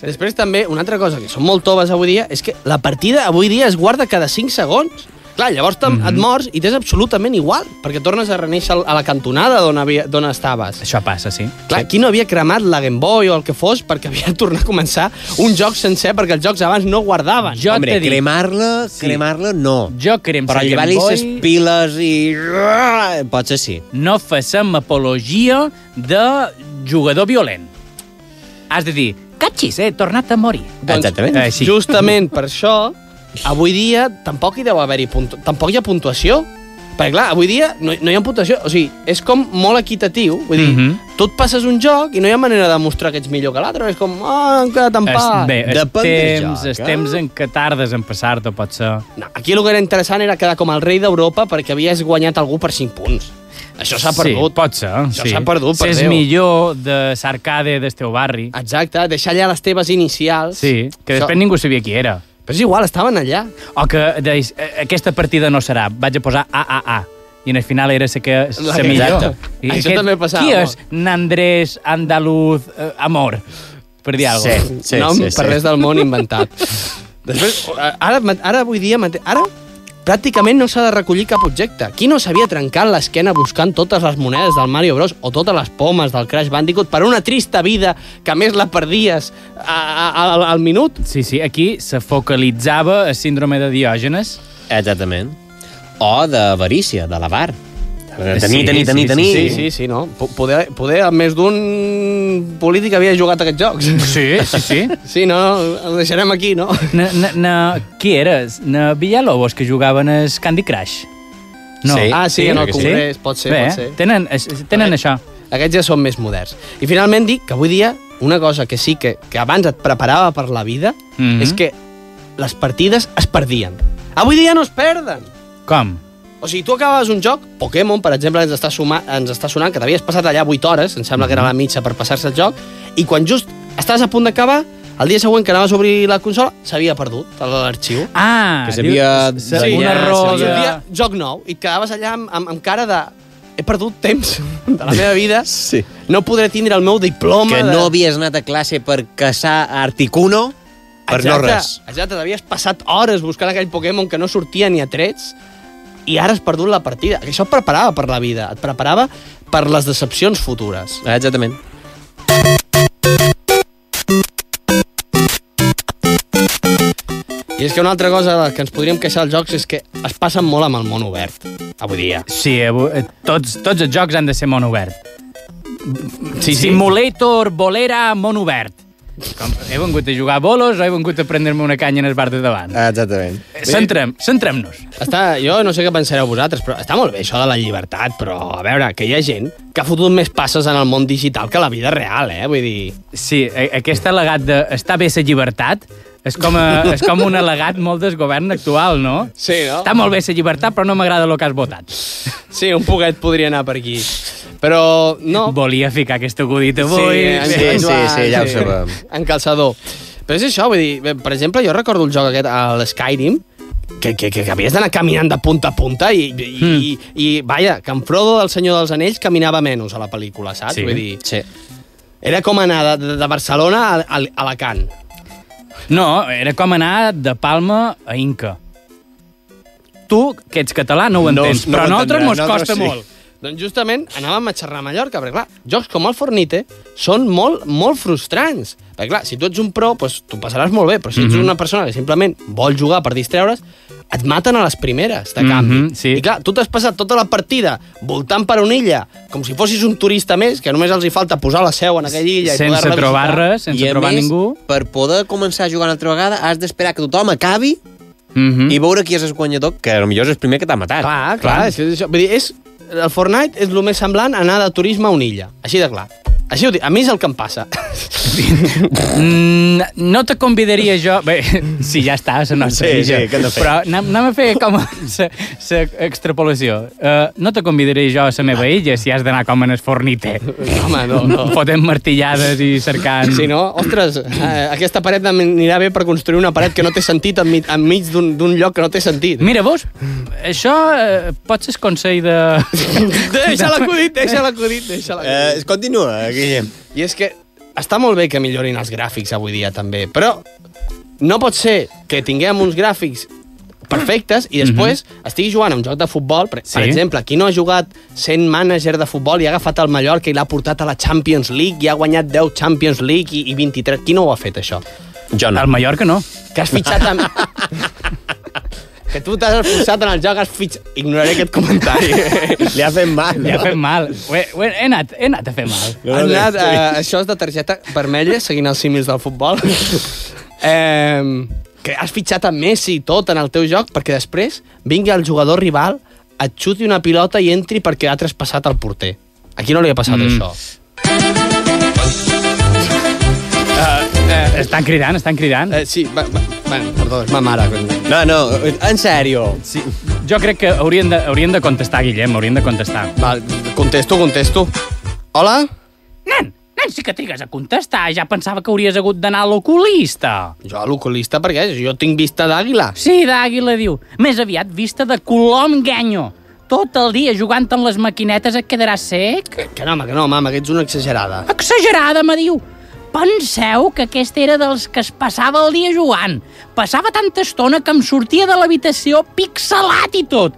Després també, una altra cosa que són molt toves avui dia, és que la partida avui dia es guarda cada 5 segons. Clar, llavors mm -hmm. et mors i t'és absolutament igual, perquè tornes a reneixer a la cantonada d'on havia- d'on estaves.
Això passa, sí.
Clar, qui no havia cremat la Game Boy o el que fos perquè havia de tornar a començar un joc sencer perquè els jocs abans no guardaven.
Jo
Hombre, cremar-la,
Sí.
cremar-la, no.
Jo crem
Però
sa Game
llevar-li
Boy.
les piles i... Potser sí.
No facem apologia de jugador violent. Has de dir, catxis, eh, he tornat a morir. eh,
Exactament.
Així. *laughs*
Doncs Justament per això, avui dia tampoc hi deu haver-hi puntu... tampoc hi ha puntuació. Perquè, clar, avui dia no, no hi ha puntuació. O sigui, és com molt equitatiu. Vull dir,
Mhm.
tu et passes un joc i no hi ha manera de demostrar que ets millor que l'altre. És com, ah, oh, hem quedat en
Es,
pau.
bé, els temps, els
eh?
temps en què tardes en passar-te, pot ser...
No, aquí el que era interessant era quedar com el rei d'Europa perquè havies guanyat algú per 5 punts. Això s'ha perdut.
Sí, pot ser.
Això
sí.
s'ha perdut, per
S'és
Déu.
millor de l'arcade del teu barri.
Exacte, deixar allà les teves inicials.
Sí, que després
Això-
ningú sabia qui era.
Però és igual, estaven allà.
O que deies, "Eh, aquesta partida no serà, vaig a posar AAA. I en el final era la que
La
la
que-
millor.
Exacte.
I
*laughs* Això també passava
Qui
molt.
és Nandrés Andaluz eh, Amor? Per dir alguna cosa.
Nom per res del món inventat. Després, ara, ara avui dia... mate- Ara pràcticament no s'ha de recollir cap objecte. Qui no s'havia trencat l'esquena buscant totes les monedes del Mario Bros o totes les pomes del Crash Bandicoot per una trista vida que a més la perdies a, a, a, al- al minut?
Sí, sí, aquí se focalitzava a síndrome de Diògenes.
Exactament. O d'avarícia, de l'avar. Tenir,
Eh, Sí,
tenir,
sí,
tenir,
sí,
tenir.
Sí, sí, sí, no. Po- Poder, poder a més d'un polític havia jugat a aquests jocs. *laughs*
Sí, sí, sí.
Sí, no, no, ho deixarem aquí, no?
*laughs* Na, na, na, qui eres? Na Villalobos, que jugaven a Candy Crush?
Sí. Ah, sí, en el Congrés, pot ser,
Bé,
pot ser.
Tenen, es- tenen això.
Aquests ja són més moderns. I finalment dic que avui dia una cosa que sí que, que abans et preparava per la vida
Mhm.
és que les partides es perdien. Avui dia no es perden.
Com?
O sigui, tu acabaves un joc, Pokémon, per exemple, ens està, suma, ens està sonant, que t'havies passat allà 8 hores, em sembla que era la mitja per passar-se el joc, i quan just estàs a punt d'acabar, el dia següent que anaves a obrir la consola, s'havia perdut a l'arxiu.
Ah,
Que s'havia
diu-
danyat,
un error
s'havia-
de...
Dia, joc nou, i et quedaves allà amb, amb, amb cara de... He perdut temps *laughs* de la meva vida. Sí. No podré tindre el meu diploma.
Que
de...
no havies anat a classe per caçar Articuno per no res.
Exacte, t'havies passat hores buscant aquell Pokémon que no sortia ni a trets i ara has perdut la partida. Això et preparava per la vida, et preparava per les decepcions futures. Eh,
Exactament.
I és que una altra cosa de la que ens podríem queixar als jocs és que es passen molt amb el món obert. Avui dia.
Sí, avui- eh, tots, tots els jocs han de ser món obert.
Sí, sí.
Simulator, bolera, món obert. Com, he vengut a jugar a bolos o he vengut a prendre-me una canya en el bar de davant?
Exactament.
Centrem, centrem-nos.
Està, jo no sé què pensareu vosaltres, però està molt bé això de la llibertat, però a veure, que hi ha gent que ha fotut més passes en el món digital que a la vida real, eh? Vull dir...
Sí, a- aquest al·legat de està bé la llibertat és com, a, és com un al·legat molt del govern actual, no?
Sí, no?
Està molt bé la llibertat, però no m'agrada el que has votat.
Sí, un poquet podria anar per aquí. Però no...
Volia ficar aquest acudit avui.
eh, en
sí,
Joan,
sí, ja ho sabem.
En calçador. Però és això, vull dir, bé, per exemple, jo recordo el joc aquest, a l'Skyrim, que, que, que, que havies d'anar caminant de punta a punta i, i,
Hmm.
i, i, vaja, que en Frodo del Senyor dels Anells caminava menys a la pel·lícula, saps?
Sí,
Vull dir, sí. Era com anar de, de- de Barcelona a, a, a Alacant.
No, era com anar de Palma a Inca. Tu, que ets català, no ho
No,
entens,
no
però
ho
a nosaltres
entendrà,
mos
nosaltres
costa
sí.
molt.
Doncs justament anàvem a xerrar a Mallorca, perquè clar, jocs com el Fornite són molt, molt frustrants. Perquè clar, si tu ets un pro, doncs t'ho passaràs molt bé, però si ets
Mhm.
una persona que simplement vol jugar per distreure's, et maten a les primeres, de canvi.
Mhm, sí.
I clar, tu t'has passat tota la partida voltant per una illa, com si fossis un turista més, que només els hi falta posar la seu en aquella illa i poder-la
I
visitar.
a més, per poder començar a jugar una altra vegada has d'esperar que tothom acabi
mm -hmm.
i veure qui és el guanyador, que potser és el primer que t'ha matat.
Clar, clar, és, que és, això. Vull dir, és, el Fortnite és el més semblant a anar de turisme a una illa. Així de clar. Així ho dic. A mi és el que em passa.
Mm, no te convidaria jo... Bé, *laughs* sí, ja està, la nostra
Sí,
guija.
sí, què hem de fer?
Però anem- anem a *laughs* fer com l'extrapolació. Uh, no te convidaria jo a la meva illa si has d'anar com en el fornite.
Home, no, no.
Fotent martillades i cercant...
Sí, no? Ostres, eh, aquesta paret m'anirà bé per construir una paret que no té sentit enmig, enmig d'un d'un lloc que no té sentit.
Mira, veus? Això eh, pot ser el consell de...
*laughs* Deixa l'acudit, deixa l'acudit, deixa l'acudit.
Eh, continua, Guillem.
I és que està molt bé que millorin els gràfics avui dia també, però no pot ser que tinguem uns gràfics perfectes i després estigui jugant a un joc de futbol, per, per
Sí.
exemple, qui no ha jugat sent mànager de futbol i ha agafat el Mallorca i l'ha portat a la Champions League i ha guanyat 10 Champions League i, i 23, qui no ho ha fet això?
Jo no.
El Mallorca no.
Que has fitxat amb... *laughs* que tu t'has esforçat en el joc, has fitxat... Ignoraré aquest *laughs* comentari.
Li ha fet mal.
Li ha fet mal. Ho he, ho he, he, anat, he anat a fer mal.
Han anat, eh, això és de targeta vermella, seguint els símils del *laughs* futbol. eh, que has fitxat amb Messi i tot en el teu joc perquè després vingui el jugador rival, et xuti una pilota i entri perquè ha traspassat el porter. Aquí no li ha passat mm. això.
Eh, estan cridant, estan cridant.
Eh, sí, va, va, bueno, perdó, és ma mare.
No, no, en sèrio.
Sí. Jo crec que haurien de, haurien de contestar, Guillem, haurien de contestar.
Val, contesto, contesto. Hola?
Nen, nen, sí que trigues a contestar. Ja pensava que hauries hagut d'anar a l'oculista.
Jo a l'oculista perquè jo tinc vista d'àguila.
Sí, d'Àguila diu. Més aviat vista de Colom Ganyo. Tot el dia jugant amb les maquinetes et quedaràs sec.
Que no, home, que no, mama, que ets una exagerada.
Exagerada, me diu. Penseu que aquest era dels que es passava el dia jugant. Passava tanta estona que em sortia de l'habitació pixelat i tot.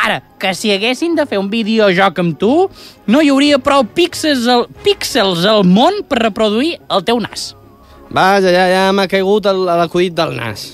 Ara, que si haguessin de fer un videojoc amb tu, no hi hauria prou píxels al, píxels al món per reproduir el teu nas.
Vaja, ja, ja m'ha caigut el- l'acudit del nas.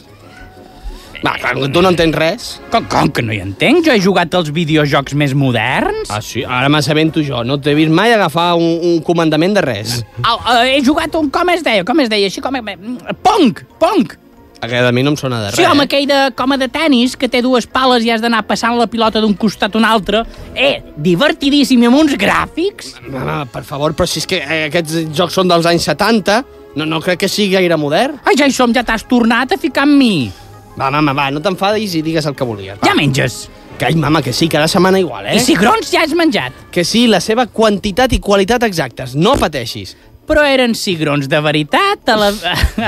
Va, clar, tu no entens res.
Com, com que no hi entenc? Jo he jugat als videojocs més moderns.
Ah, sí? Ara m'assabento jo. No t'he vist mai agafar un, un comandament de res.
Au, eh, he jugat un... Com es deia? Com es deia? Així com... eh, Pong! Pong!
Aquest a mi no em sona de res.
Sí, home, aquell de, com a de tennis, que té dues pales i has d'anar passant la pilota d'un costat a un altre. Eh, divertidíssim, i amb uns gràfics.
No, no, per favor, però si és que eh, aquests jocs són dels anys 70, no, no crec que sigui gaire modern.
Ai, ja hi som, ja t'has tornat a ficar amb mi.
Va, mama, va, no t'enfadis i digues el que volies. Va.
Ja menges.
Que, ai, mama, que sí, cada setmana igual, eh?
I cigrons ja has menjat.
Que sí, la seva quantitat i qualitat exactes, no pateixis.
Però eren cigrons de veritat, a la,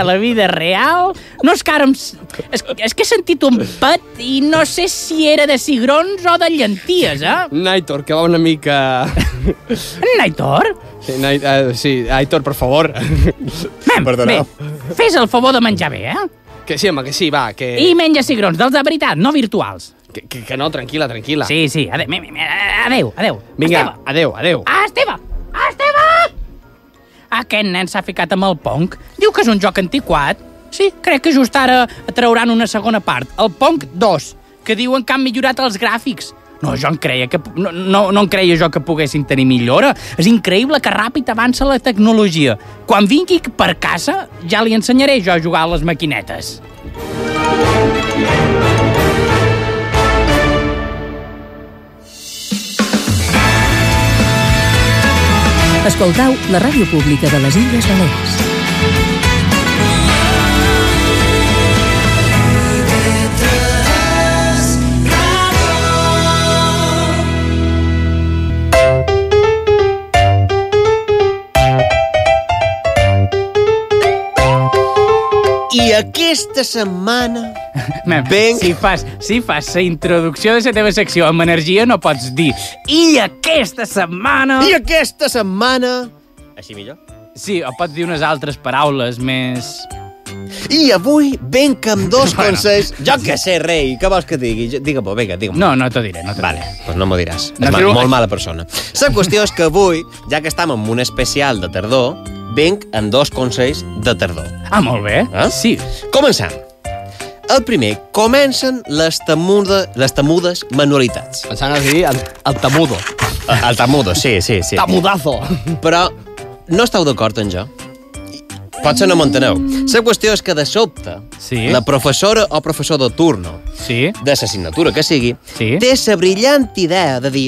a la vida real. No és que ara... Em, és, és que he sentit un pet i no sé si era de cigrons o de llenties, eh?
Naitor, que va una mica... *laughs*
Naitor?
Sí, Nai... eh, sí Aitor, per favor.
Mem, Bé, fes el favor de menjar bé, eh?
Que sí, home, que sí, va, que...
I menja cigrons, dels de veritat, no virtuals.
Que, que, que no, tranquil·la, tranquil·la.
Sí, sí, adeu, mi- mi- mi- adeu, adeu.
Vinga, adeu, adeu.
Ah, Esteve! Ah, Esteve! Aquest nen s'ha ficat amb el Pong. Diu que és un joc antiquat. Sí, crec que just ara trauran una segona part, el Pong 2, que diuen que han millorat els gràfics. No, jo en creia que... No, no, no en creia jo que poguessin tenir millora. És increïble que ràpid avança la tecnologia. Quan vingui per casa, ja li ensenyaré jo a jugar a les maquinetes.
Escoltau la ràdio pública de les Illes Balears.
I aquesta setmana...
Mem, ben... si, fas, si fas la introducció de la teva secció amb energia no pots dir I aquesta setmana...
I aquesta setmana... Així millor?
Sí, o pots dir unes altres paraules més...
I avui venc amb dos consells... Jo que sé, rei, què vols que digui? Jo- Digue-m'ho, vinga, digue-m'ho.
No, no t'ho diré, no t'ho
vale, diré. doncs no m'ho diràs.
No
No, mal,
tiro-
molt mala persona. La qüestió és que avui, ja que estem en un especial de tardor, venc amb dos consells de tardor.
Ah, molt bé.
Eh?
Sí.
Començant. El primer, comencen les, temuda, les temudes manualitats.
Pensant a dir el, el tamudo.
El, el tamudo, sí, sí, sí.
Tamudazo.
Però no esteu d'acord en jo? Potser no m'enteneu. La qüestió és que de sobte
Sí.
la professora o professor de turno
sí.
de l'assignatura que sigui
Sí.
té la brillant idea de dir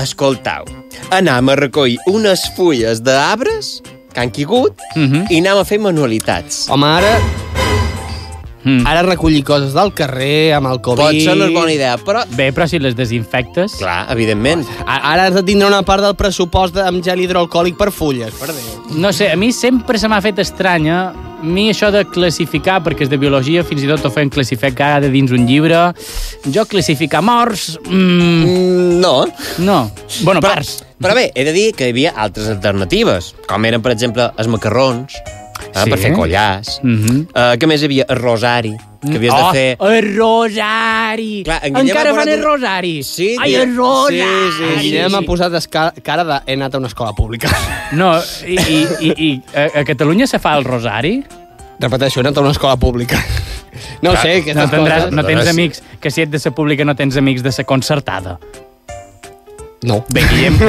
escoltau, anam a recollir unes fulles d'arbres que han quigut i anam a fer manualitats.
Home, ara... Ara recollir coses del carrer, amb el Covid...
Potser no és bona idea, però...
Bé, però si les desinfectes...
Clar, evidentment.
A- Ara has de tindre una part del pressupost de- amb gel hidroalcohòlic per fulles, per Déu.
No sé, a mi sempre se m'ha fet estranya a mi això de classificar, perquè és de biologia, fins i tot ho feien classificar de dins un llibre. Jo classificar morts... Mm...
No.
No. Bueno, però, parts.
Però bé, he de dir que hi havia altres alternatives, com eren, per exemple, els macarrons, eh,
Sí.
per fer collars.
Mhm.
Eh, que més hi havia? El rosari, que havies
oh,
de fer...
El rosari! Clar,
en Guillem
Encara
ha
fan
posat
el
un-
rosari!
Sí,
Ai,
Guillem-
el rosari!
Sí, Guillem m'ha posat esca- cara de he anat a una escola
*laughs*
pública.
No, i, i, i, i a, a Catalunya se fa el rosari?
Repeteixo, he anat a una escola pública. No ho sé, aquestes
no, tindràs,
coses...
no tens amics, que si et de la pública no tens amics de la concertada.
No.
Bé, *laughs* Guillem,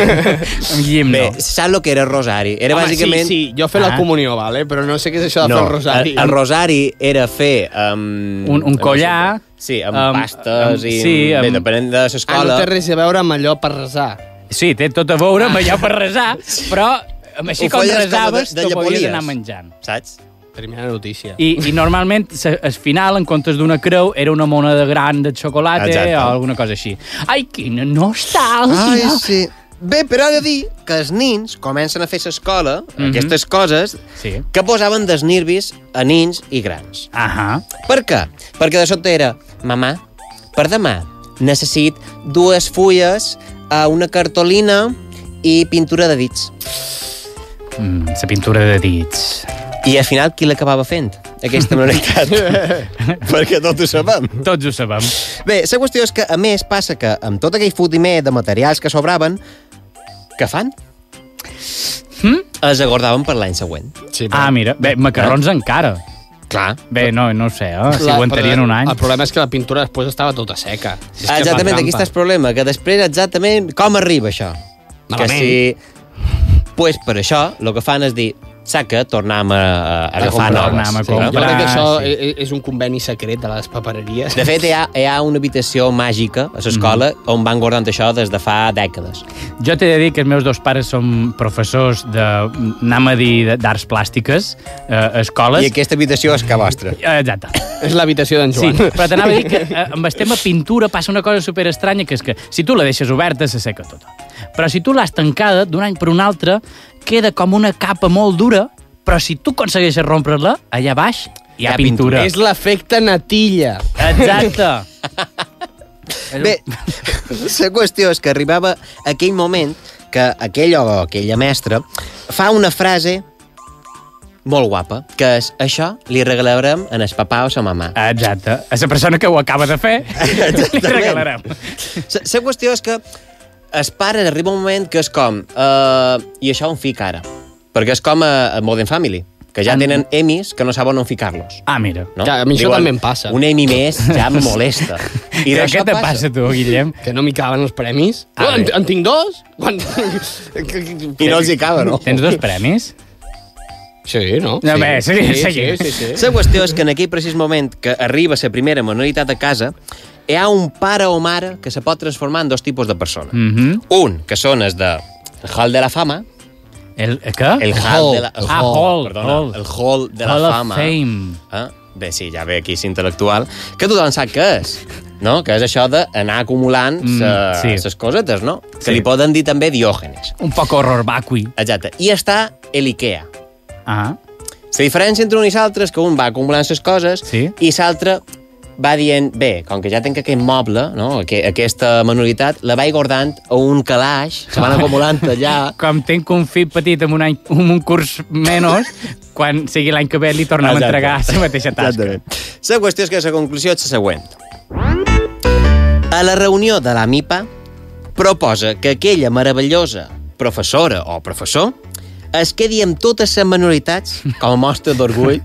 Guillem no.
Bé, saps el que era el rosari? Era
Home,
bàsicament...
sí, sí, jo he fet
Ah.
la comunió, vale? però no sé què és això de
No,
fer el rosari.
El, el rosari era fer... Um,
Un- un collar,
Sí, amb
amb-
pastes
amb-
i...
sí,
bé,
amb-
depenent de
Ah,
l'escola.
no té res a veure amb allò per resar.
Sí, té tot a veure amb allò per resar, però amb així
Ho
com
feies com
resaves,
de- de
t'ho podies
llepolies.
anar menjant.
Saps?
Primera notícia.
I, I normalment, se- al final, en comptes d'una creu, era una moneda gran de xocolata
Exacte.
o alguna cosa així. Ai, quina nostàlgia!
Ai, sí. Bé, però he de dir que els nins comencen a fer a l'escola
Mhm.
aquestes coses
Sí.
que posaven dels nervis a nins i grans.
Ahà.
Per què? Perquè de sobte era, mamà, per demà necessit dues fulles, eh, una cartolina i pintura de dits.
Mm, la pintura de dits.
I al final, qui l'acabava fent,
*laughs*
aquesta manualitat? Perquè tots ho sabem.
Tots ho sabem.
Bé, la qüestió és que, a més, passa que amb tot aquell fotimer de materials que sobraven, què fan?
Hmm?
Hm?
Els aguardaven per l'any següent.
Sí, ah, mira, bé, macarrons encara.
Clar.
Bé, no, no ho sé, eh? si
La-
aguantarien
però
un any.
El problema és que la pintura després estava tota seca. Si és que
Ah, exactament,
fa
aquí
trampa.
està el problema, que després exactament com arriba això?
Malament.
Que si... pues per això, el que fan és dir, saca, tornam a, a agafar noves.
Sí,
no?
jo crec que això sí. és un conveni secret de les papereries.
De fet, hi ha, hi ha una habitació màgica a l'escola
Mhm.
mm -hmm. on van guardant això des de fa dècades.
Jo t'he de dir que els meus dos pares són professors de, anem a dir, de- d'arts plàstiques, eh, a escoles.
I aquesta habitació és que vostra.
Exacte.
*laughs* És l'habitació d'en
Sí,
Joan.
però t'anava a dir que eh, amb el tema pintura passa una cosa super estranya, que és que si tu la deixes oberta se seca tota. Però si tu l'has tancada d'un any per un altre, queda com una capa molt dura, però si tu aconsegueixes rompre-la, allà baix hi ha, pintura.
*laughs* És l'efecte natilla.
Exacte.
Bé, *laughs* la qüestió és que arribava aquell moment que aquell o aquella mestra fa una frase molt guapa, que és això li regalarem en el papà o sa mamà.
Exacte. A la persona que ho acaba de fer, li regalarem.
La la qüestió és que els pares arriba un moment que és com uh, i això on fic ara? Perquè és com a, a Modern Family, que ja tenen emis que no saben on ficar-los.
Ah, mira.
No?
Ah. Ja, a mi això també em passa.
Un emi més ja em
*laughs*
molesta. I
Però
d'això
què te
passa.
passa,
tu, Guillem?
Que no m'hi caben els premis. Ah, en, en tinc dos? Quan... I
no els hi caben, no?
Tens dos premis?
Sí, no?
No, bé, sí, seguim.
La qüestió és que en aquell precís moment que arriba la primera manualitat a casa, hi ha un pare o mare que se pot transformar en dos tipus de persona.
Mhm.
Un, que són els de el Hall de la Fama.
El, el què?
El Hall de la... el
Ah, hall.
Perdona,
hall.
el Hall de la
Hall of
Fama.
Fame.
Eh? Bé, sí, ja ve aquí, és intel·lectual. Que tothom sap què és, no? Que és això d'anar acumulant
Mm,
ses,
sí.
ses cosetes, no? Que
Sí.
li poden dir també Diògenes.
Un poc horror vacui.
Exacte. I està el Ikea.
Ah.
La diferència entre un i l'altre és que un va acumulant les coses sí. i l'altre va dient, bé, com que ja tinc aquest moble, no? Aqu aquesta manualitat, la vaig guardant a un calaix, se
Ah.
van acumulant
*laughs*
allà...
Com tinc un fill petit amb un, any, amb un curs menys, quan sigui l'any que ve li tornem
Exacte.
a entregar la mateixa tasca.
La qüestió és que la conclusió és la següent. A la reunió de la MIPA proposa que aquella meravellosa professora o professor es quedi amb totes les manualitats
*laughs*
com a mostra d'orgull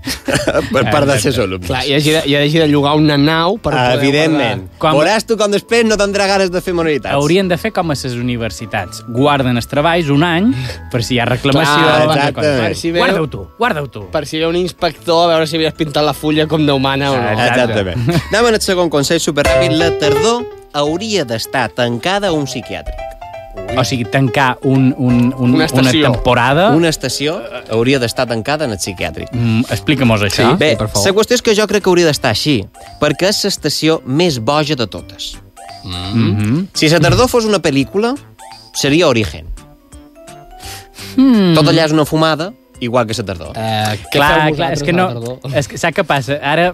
per part dels seus alumnes.
Clar, i hagi de, i hagi de llogar una nau per poder
Evidentment.
guardar.
Quan... Veuràs tu com després no tindrà ganes de fer manualitats.
Haurien de fer com a les universitats. Guarden els treballs un any per si hi ha reclamació.
Clar,
alguna
exacte.
cosa.
Per si veu-
Guarda-ho tu, guarda-ho tu.
Per si hi ha un inspector, a veure si havies pintat la fulla com de humana o
Ah,
no.
Exactament. Anem al segon consell superràpid. La tardor hauria d'estar tancada a un psiquiatre.
O sigui, tancar un, un, un,
Una estació.
una
Ah.
temporada...
Una estació hauria d'estar tancada en el psiquiàtric.
Mm, Explica'm-nos això.
Bé, la qüestió és que jo crec que hauria d'estar així, perquè és l'estació més boja de totes.
Mm -hmm.
Mm-hmm.
Si la tardor fos una pel·lícula, seria Origen.
Mm.
Hmm.
Tot allà és una fumada, igual que la tardor.
Eh,
Clar, clar, és que
Ah,
no... És que, saps què passa? Ara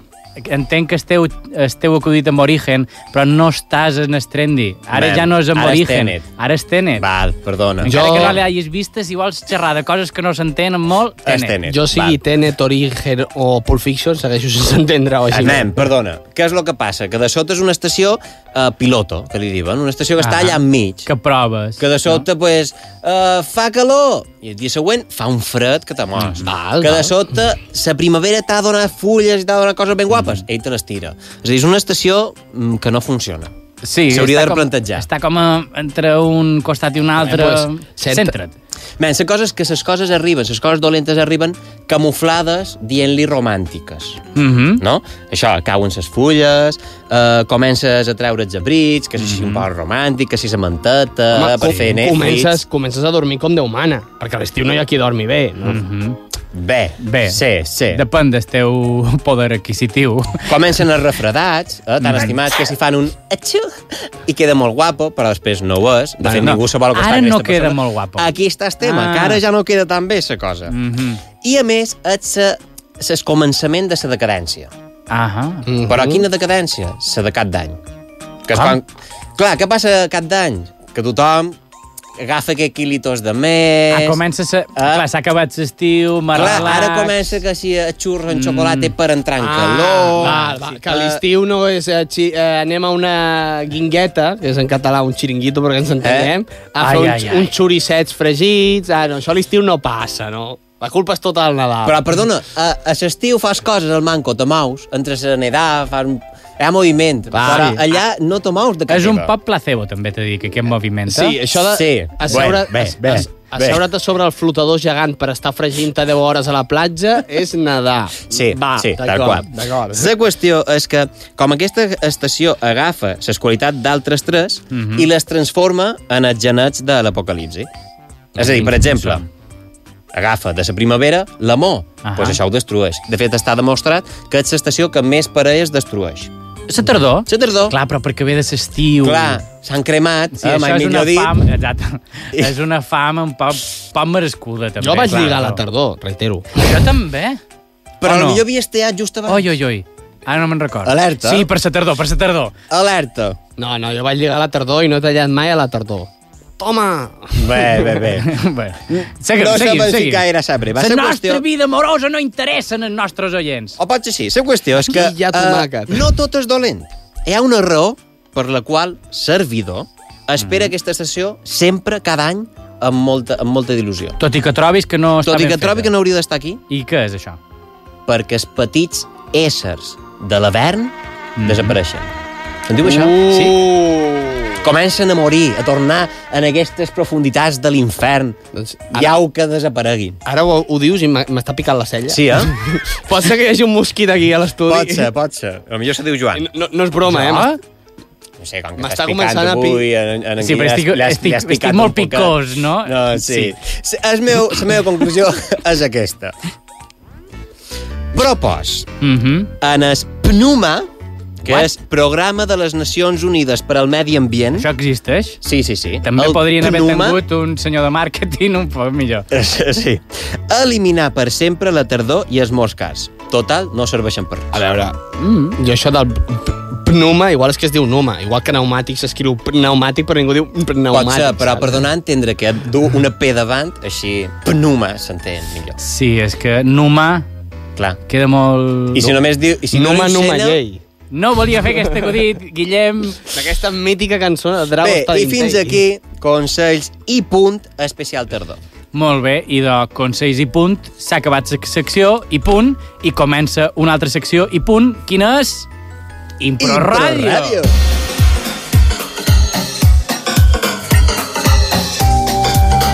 entenc que esteu, esteu acudit amb Origen, però no estàs en el trendy. Ara
Ben,
ja no és amb
ara és
Origen.
Tenet.
Ara és Tenet.
Val, perdona.
Encara que no l'hagis vist, si vols xerrar de coses que no s'entenen molt, Tenet.
Jo sigui Tenet, Origen o Pulp Fiction, segueixo sense entendre. O així.
Anem, perdona. Què és el que passa? Que de sota és una estació eh, piloto, que li diuen, una estació que està
Ah.
allà enmig.
Que proves.
Que de sota, no? pues, eh, fa calor, i el dia següent fa un fred que te mors.
Val,
Mm-hmm. que
val.
de sota, la primavera t'ha donat fulles i t'ha donat coses ben guapes, ell te les tira. És a dir, és una estació mm, que no funciona.
Sí,
S'hauria
està
de
com-
replantejar.
Està com a, entre un costat i un altre...
Bé, pues,
Centra't.
Men, la cosa és que les coses arriben, les coses dolentes arriben camuflades dient-li romàntiques.
Mhm.
no? Això, cauen ses fulles, eh, comences a treure els abrits, que si mm -hmm. un
Mm-hmm.
poc romàntic, que si la manteta, Home, per
com-
fer Netflix...
comences, comences a dormir com Déu mana, perquè a l'estiu no hi ha qui dormi bé. No? Mm
-hmm.
Bé,
Bé,
sí, sí.
Depèn del teu poder adquisitiu.
Comencen els refredats, eh, tan
Mm.
estimats, que si fan un atxú i queda molt guapo, però després no ho és. De fet,
No,
no. ningú se vol acostar
ara
a aquesta
no queda
persona.
molt guapo.
Aquí està el tema,
Ah.
ah. que ara ja no queda tan bé la cosa. Mm
-hmm.
I, a més, és el començament de la decadència.
Ah
-hmm.
Mhm.
Però quina decadència? La de cap d'any. Que és
Ah.
quan... Clar, què passa cap d'any? Que tothom agafa que quilitos de més...
Ah, comença a ser... Ah. Clar, s'ha acabat l'estiu,
Clar,
marrelats...
ara comença que si eh, xurro en xocolate per entrar en calor...
Mm. Val, val, Ah, que a l'estiu no és... Eh, xi, eh, anem a una guingueta, que és en català un xiringuito perquè ens entenem, eh? a
Ai,
fer
ai,
uns,
ai.
uns xuricets fregits... Ah, no, això a l'estiu no passa, no? La culpa és tota del Nadal.
Però, perdona, a, a l'estiu fas coses al manco, te mous, entre la nedada, fas... un- Hi ha moviment, però allà no te mous de casa
És un
teva.
pop placebo, també t'he dit, que aquest moviment. eh?
Sí, això de...
Sí.
Asseure,
Bé, bé,
as-
bé.
Asseure't a sobre el flotador gegant per estar fregint a 10 hores a la platja és nedar.
Sí,
Va,
sí, tal
d'acord,
qual.
D'acord.
La qüestió és que, com aquesta estació agafa les qualitats d'altres tres
Mhm.
i les transforma en els genets de l'apocalipsi. És a dir, per exemple, agafa de la primavera l'amor, doncs pues això ho destrueix. De fet, està demostrat que és l'estació que més parelles destrueix.
La tardor.
La tardor.
Clar, però perquè ve de l'estiu.
Clar, s'han cremat,
Sí,
eh,
això
mai
és una
millor dit.
fam, exacte. És una fam un poc, poc merescuda, també.
Jo vaig
clar,
lligar a la
però-
tardor, reitero.
Jo també. O
Però
Oh, no?
potser havia estat just abans.
Oi, oi, oi. Ara no me'n recordo.
Alerta.
Sí, per la tardor, per la tardor.
Alerta.
No, no, jo vaig lligar a la tardor i no he tallat mai a la tardor. Toma!
Bé, bé, *laughs* bé. *laughs*
bé. Seguim,
no
seguim,
saben si
seguim.
gaire sabre. Va
la
ser
nostra
qüestió...
vida amorosa no interessa als nostres oients.
O potser sí, la qüestió és que eh,
I ja tomàquet.
eh,
no tot és dolent. Hi ha una raó per la qual Servidor espera mm. aquesta estació sempre, cada any, amb molta, amb molta il·lusió.
Tot i que trobis que no està
Tot i
ben
que trobi
feta.
que no hauria d'estar aquí,
I què és això?
perquè els petits éssers de l'avern mm. desapareixen. Se'n diu això?
Uh.
Sí. Comencen a morir, a tornar en aquestes profunditats de l'infern. Iau que desapareguin.
Ara ho, ho dius i m'ha- m'està picant la cella.
Sí, eh?
*laughs* pot ser que hi hagi un mosquit aquí a l'estudi.
Pot ser, pot ser. A millor se diu Joan.
No, no és broma,
Jo?
eh? M'est-
No sé, com que
M'està
estàs picant
començant a pi-
avui... En, en, en
Sí,
Guillem,
però estic-
l'has-
estic-
l'has
estic
picat
molt
un poquet.
picós,
no?
no sí. sí. El meu, la meva conclusió *laughs* és aquesta. Propòs.
Mm -hmm.
En es PNUMA, que What? és Programa de les Nacions Unides per al Medi Ambient...
Això existeix?
Sí, sí, sí.
També
El
podrien haver
PNUMA
tingut un senyor de màrqueting un poc millor.
Sí. Eliminar per sempre la tardor i els moscars. Total, no serveixen per res.
A veure, Mm. I això del pneuma, igual és que es diu pneuma. Igual que pneumàtic s'escriu pneumàtic, però ningú diu pneumàtic.
Pot ser, però
saps?
per donar a entendre que du una P davant, així, PNUMA, s'entén millor.
Sí, és que Numa
Clar.
queda molt...
I si només diu... I si no li encena-
No volia fer aquest acudit, Guillem.
Aquesta mítica cançó de Drago
Bé,
està eh,
i fins aquí consells i punt especial tardor.
Molt bé, i de consells i punt, s'ha acabat la secció i punt, i comença una altra secció i punt. Quina és? Impro Ràdio.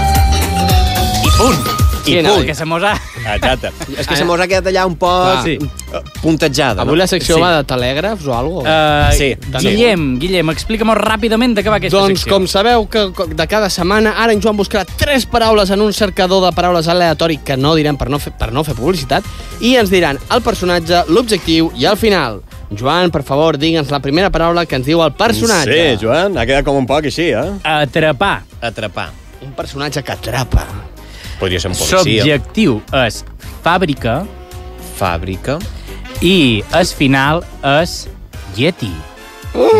I punt.
I
Quina,
punt.
Que se mos ha...
Exacte. És que se mos ha quedat allà un poc eh,
Sí.
puntejada.
Ah. Avui
no?
la secció va de telègrafs o alguna
Uh, sí, Guillem, Guillem, explica'm ràpidament de què va aquesta
Doncs,
secció.
com sabeu, que co- de cada setmana, ara en Joan buscarà tres paraules en un cercador de paraules aleatori que no direm per no fer, per no fer publicitat, i ens diran el personatge, l'objectiu i el final. Joan, per favor, digue'ns la primera paraula que ens diu el personatge.
Sí, Joan, ha quedat com un poc així, eh?
Atrapar.
Atrapar.
Un personatge que atrapa.
Podria ser un policia.
Subjectiu és fàbrica.
Fàbrica.
I es final és Yeti.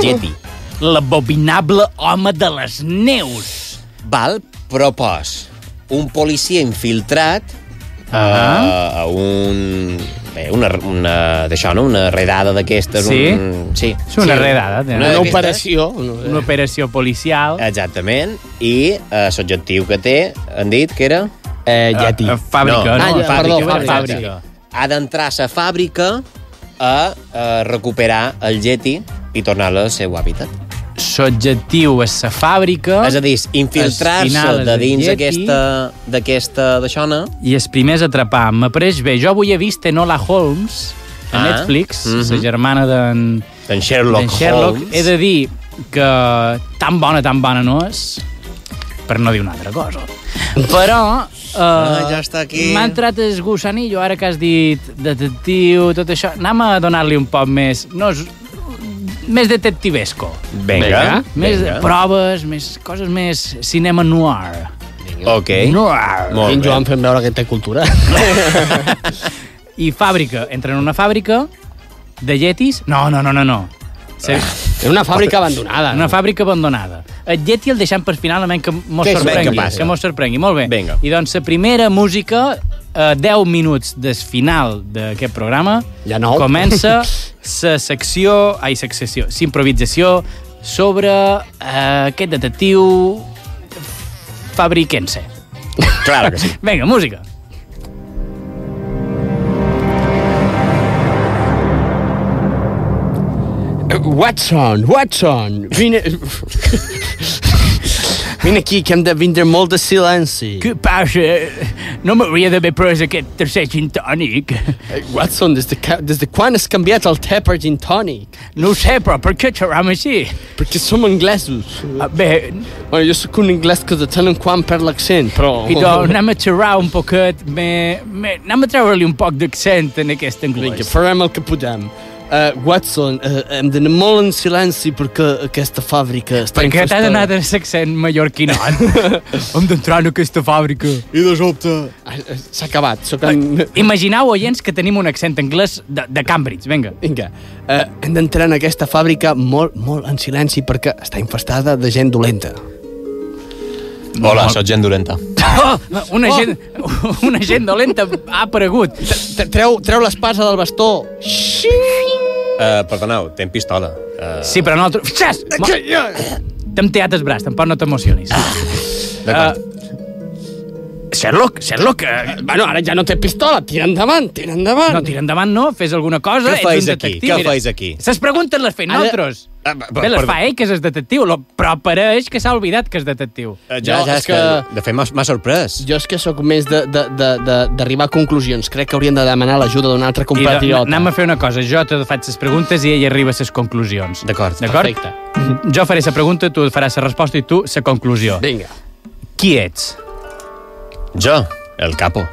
Yeti.
L'abominable home de les neus.
Val, propòs. Un policia infiltrat eh, a, a un... Bé, una, una, d'això, no? Una redada d'aquestes.
Sí?
Un, sí.
És una
sí.
redada, té. Una
d'aquestes.
operació,
Una
operació policial.
Exactament. I eh, l'objectiu que té, han dit que era...
Eh,
Yeti. eh, fàbrica, no? Ah, perdó, fàbrica. Fàbrica.
Ha d'entrar a la fàbrica a, a recuperar el Yeti i tornar-lo al seu hàbitat.
L'objectiu és la fàbrica...
És a dir,
es
Infiltrar-se
final és
de
Oh. el
dins
Yeti,
aquesta- d'aquesta d'això, no?
I els primers a atrapar. M'apareix bé. Jo avui he vist Enola Holmes a
Ah,
Netflix,
mhm.
la germana d'en...
D'en Sherlock,
d'en Sherlock.
Holmes.
He de dir que tan bona, tan bona no és, per no dir una altra cosa. Però... Uh,
*laughs* Ah, ja està aquí.
M'ha entrat el gusanillo, ara que has dit detectiu, tot això. Anem a donar-li un poc més... No, és- més detectivesco.
Vinga,
Més
vinga.
proves, més coses més cinema noir.
Ok.
Noir.
Molt en Joan fent veure que té cultura.
I fàbrica. Entra en una fàbrica de yetis. No, no, no, no, no. Se,
Era una fàbrica abandonada.
Una fàbrica abandonada. Et llet i el deixem per final, a menys que mos
Que és-
sorprengui.
Vinga, passa.
que mos sorprengui, molt bé. Vinga. I doncs, la primera música, a 10 minuts del final d'aquest programa,
ja nou. *laughs*
comença la secció, ai, la secció, s'improvisació sobre eh, aquest detectiu fabriquense.
Claro que sí.
Vinga, música.
Watson, Watson, vine... *laughs* vine aquí, que hem de vindre molt de silenci.
Què passa? No m'hauria d'haver pres aquest tercer gin tònic.
Watson, des de, ca- des de quan has canviat el te per gin tònic?
No ho sé, però per què xerram així? Ah,
Perquè som anglesos.
Bé...
Bueno, jo sóc un anglès que de tant en quant perd l'accent, però...
I doncs anem a xerrar un poquet, me, me, anem a treure-li un poc d'accent en aquest anglès.
Vinga, farem el que podem. Uh, Watson, uh, hem d'anar molt en silenci perquè aquesta fàbrica està
Per què t'ha
infestada.
d'anar de l'accent mallorquinot? Hem d'entrar en aquesta fàbrica.
I de sobte... Ah, eh, S'ha acabat, sóc en...
Imagineu, oients, que tenim un accent anglès de, de Cambridge, vinga.
Vinga, uh, hem d'entrar en aquesta fàbrica molt, molt en silenci perquè està infestada de gent dolenta.
Hola, sóc gent dolenta.
Oh, una, oh. gent, una gent dolenta ha aparegut.
Treu, treu l'espasa del bastó.
Uh, perdoneu, tenen pistola. Uh...
Sí, però nosaltres... Xas! T'hem teat el braç, tampoc no t'emocionis.
D'acord.
Sherlock, Sherlock... Eh,
bueno, ara ja Ah, no té pistola, tira endavant, tira endavant.
No, tira endavant no, fes alguna cosa,
Què
ets
feis
un
aquí?
detectiu.
Què
mira.
feis aquí?
Ses preguntes les fem
Ara-
nosaltres.
Ah,
Bé, les fa ell, que és el detectiu, lo- però apareix que s'ha oblidat que és detectiu.
Eh, Ja, ja, és que... De fet, m'ha- m'ha sorprès.
Jo és que sóc més de- de- de- de- d'arribar a conclusions. Crec que hauríem de demanar l'ajuda d'un altre
I do-
compatriota.
anem a fer una cosa, jo te faig les preguntes i ell arriba a les conclusions.
D'acord,
perfecte.
Jo faré la pregunta, tu faràs la resposta i tu la conclusió.
Vinga.
Qui ets?
Jo, el capo.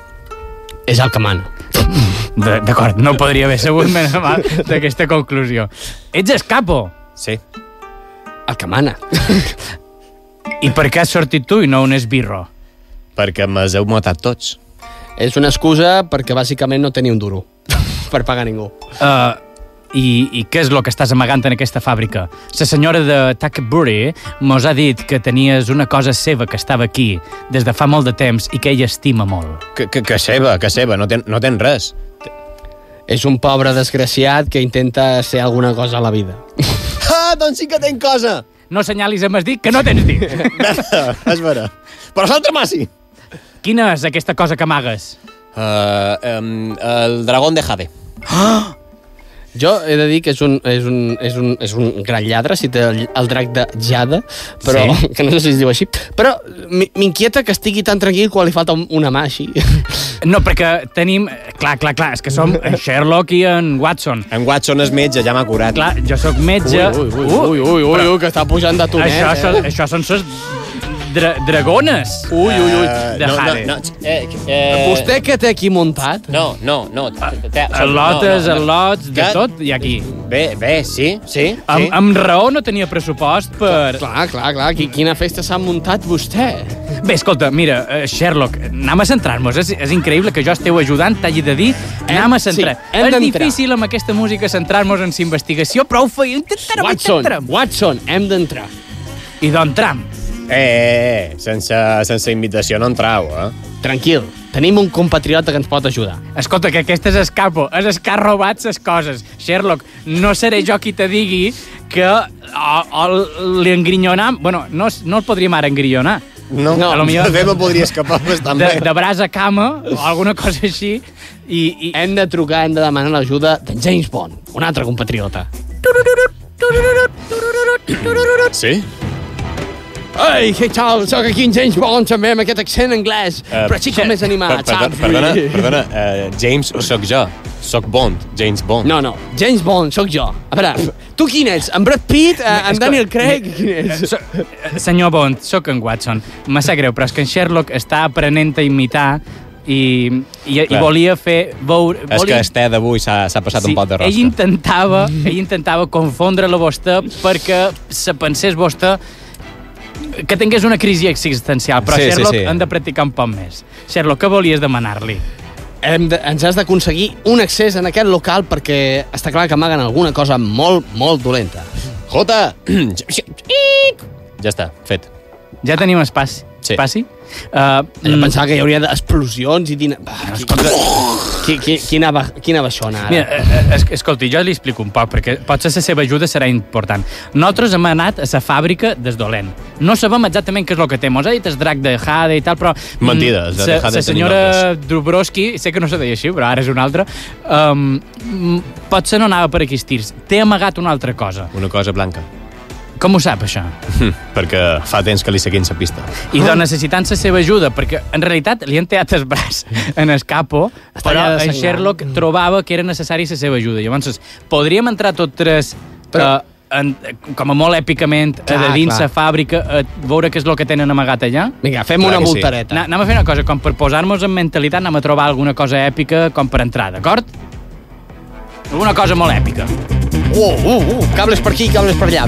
És el que mana.
D- D'acord, no podria haver *laughs* sabut menys mal d'aquesta conclusió. Ets el capo.
Sí.
El que
*laughs*
mana.
I per què has sortit tu i no un esbirro?
Perquè me'ls heu matat tots.
És una excusa perquè bàsicament no tenia un duro *laughs* per pagar ningú.
Uh, i, I què és el que estàs amagant en aquesta fàbrica? La senyora de Tuckbury mos ha dit que tenies una cosa seva que estava aquí des de fa molt de temps i que ella estima molt.
Que, que, que seva, que seva, no ten, no ten res.
És un pobre desgraciat que intenta ser alguna cosa a la vida.
Ah, doncs sí que tenc *laughs* cosa!
No senyalis amb el dit que no tens dit.
*laughs*
és vera. Però l'altre massi!
Quina és aquesta cosa que amagues?
Uh, um, el dragón de Jade.
Jo he de dir que és un, és un, és un, és un gran lladre, si té el, el drac de Jada, però,
Sí.
sí. *laughs* que no sé si es diu així, però mi- m'inquieta que estigui tan tranquil quan li falta un- una mà així.
No, perquè tenim... Clar, clar, clar, és que som en Sherlock i en Watson.
En Watson és metge, ja m'ha curat.
Clar, jo sóc metge... Uh,
Ui, ui, ui, ui, ui, ui, ui, que està pujant de tonet,
Això,
eh?
són, això són ses dra dragones.
Ui, ui, ui.
De
No, no,
Jade.
no,
Eh, eh...
Vostè que té aquí muntat?
No, no, no.
Ah,
El
Al·lotes, al·lots, de tot hi ha aquí.
Bé, bé, sí, sí.
Amb, amb raó no tenia pressupost per...
Clar, clar, clar. Qui, quina festa s'ha muntat vostè?
Bé, escolta, mira, eh, Sherlock, anem a centrar-nos. És, és increïble que jo esteu ajudant, t'hagi de dir, anem a centrar.
sí, hem
és
d'entrar.
difícil amb aquesta música centrar-nos en la investigació, però ho feia, intentarem,
Watson,
intentarem.
Watson, hem d'entrar.
I d'entram.
Eh, eh, eh, sense, sense invitació no entrau, eh?
Tranquil, tenim un compatriota que ens pot ajudar.
Escolta, que aquest és escapo, és escar robat ses coses. Sherlock, no seré jo qui te digui que o, o li engrinyonam... Bueno, no, es- no el podríem ara engrinyonar.
No,
A lo millor-
bé me podria escapar bastant
De,
bé.
de braç a cama o alguna cosa així. I, i...
Hem de trucar, hem de demanar l'ajuda de James Bond, un altre compatriota.
Sí?
Ei, què tal? Sóc aquí en James Bond, també, amb aquest accent anglès,
Eh,
però sí com més animat,
Per,
saps?
perdona, perdona, eh, James, sóc jo. Sóc Bond, James Bond.
No, no, James Bond, sóc jo. A veure, tu quin ets? En Brad Pitt? Eh, en Daniel Craig? Quin ets?
So, eh, senyor Bond, sóc en Watson. Me sap greu, però és que en Sherlock està aprenent a imitar i, i, i
Clar.
volia fer... Veure,
És que
volia...
el té d'avui s'ha s'ha passat un pot de
ell
rosca.
intentava, ell intentava confondre-la a vostè perquè se pensés vostè que tingués una crisi existencial, però
Sí, sí,
sí, Sherlock sí,
sí.
sí. hem de practicar un poc més. Sherlock, què volies demanar-li?
Hem de, ens has d'aconseguir un accés en aquest local perquè està clar que amaguen alguna cosa molt, molt dolenta.
Jota! ja està, fet.
Ja tenim espai. Sí. Passi?
Uh,
Mm.
pensava que hi hauria explosions i dina... Ah, Escolta, qui, qui, quina, ba- quina baixona, ara.
Mira, eh, es, escolti, jo li explico un poc, perquè potser la seva ajuda serà important. Nosaltres hem anat a la fàbrica des dolent. No sabem exactament què és el que té. Mos ha dit el drac de Jade i tal, però... mm,
Mentida, el drac de
la-
Jade
La
tenim
senyora Dubrovski, sé que no se deia així, però ara és una altra, um, mm, potser no anava per aquests tirs. Té amagat una altra cosa.
Una cosa blanca.
Com ho sap, això?
Hm. Perquè fa temps que li seguim la pista.
I
Ah.
doncs necessitant la seva ajuda, perquè en realitat li han tallat el
*laughs*
braç en el capo, però
allà Mm.
en
sangrant.
Sherlock trobava que era necessari la seva ajuda. Llavors, podríem entrar tots tres però... en, com a molt èpicament a
Clar,
de dins
clar.
la fàbrica a veure què és el que tenen amagat allà.
Vinga, fem Clar una que sí. voltereta.
Na, anem a fer una cosa, com per posar-nos en mentalitat anem a trobar alguna cosa èpica com per entrar, d'acord? Alguna cosa molt èpica.
Uh, uh, uh, cables per aquí, cables per allà.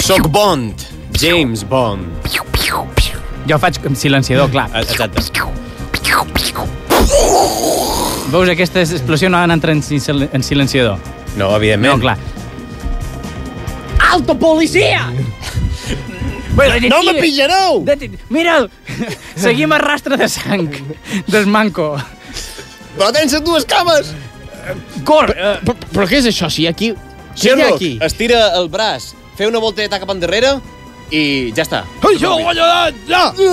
Soc Bond. James Bond. Ah,
Jo faig com silenciador, clar.
Exacte.
Veus, aquesta explosió no ha d'entrar en, sil- en silenciador.
No, evidentment.
No, clar.
Alto policia!
no me
pillareu!
Mira'l! Seguim a rastre de sang. Desmanco.
Però tens dues cames!
Cor!
Però, però què és això? Si hi ha aquí... Què hi ha
Sherlock,
aquí?
estira el braç, fer una voltereta cap endarrere i ja està.
Ai, jo, eh, allà,
allà!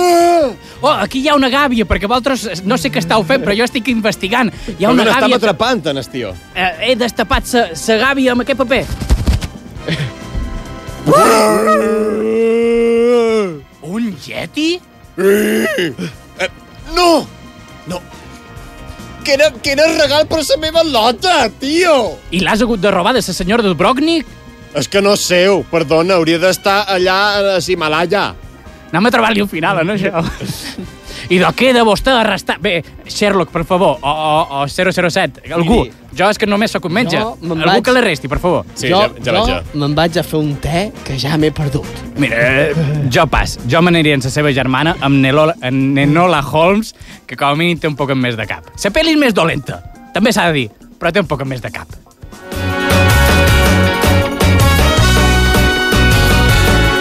Oh, aquí hi ha una gàbia, perquè vosaltres eh, no sé què estàu fent, però jo estic investigant. Hi ha una
Estam
gàbia... Que,
atrapant, en tio.
eh, he destapat sa, sa gàbia amb aquest
*laughs*
paper. Ah! Un yeti?
No! No. Que era, que era regal per la meva lota, tio!
I l'has hagut de robar de la senyora del Brognick?
És que no és seu, perdona, hauria d'estar allà eh, a Himalaya.
Anem a trobar-li un final, no, això? I de què de vostè arrestar... Bé, Sherlock, per favor, o, o, o 007, algú.
Miri.
Jo és que només sóc un metge.
Jo me'n
algú
vaig-
que l'arresti, per favor.
jo me'n vaig a fer un te que ja m'he perdut.
Mira, eh, jo pas. Jo m'aniria amb la seva germana, amb Nelola, en Nenola Holmes, que com a mínim té un poc més de cap. La pel·li és més dolenta, també s'ha de dir, però té un poc més de cap.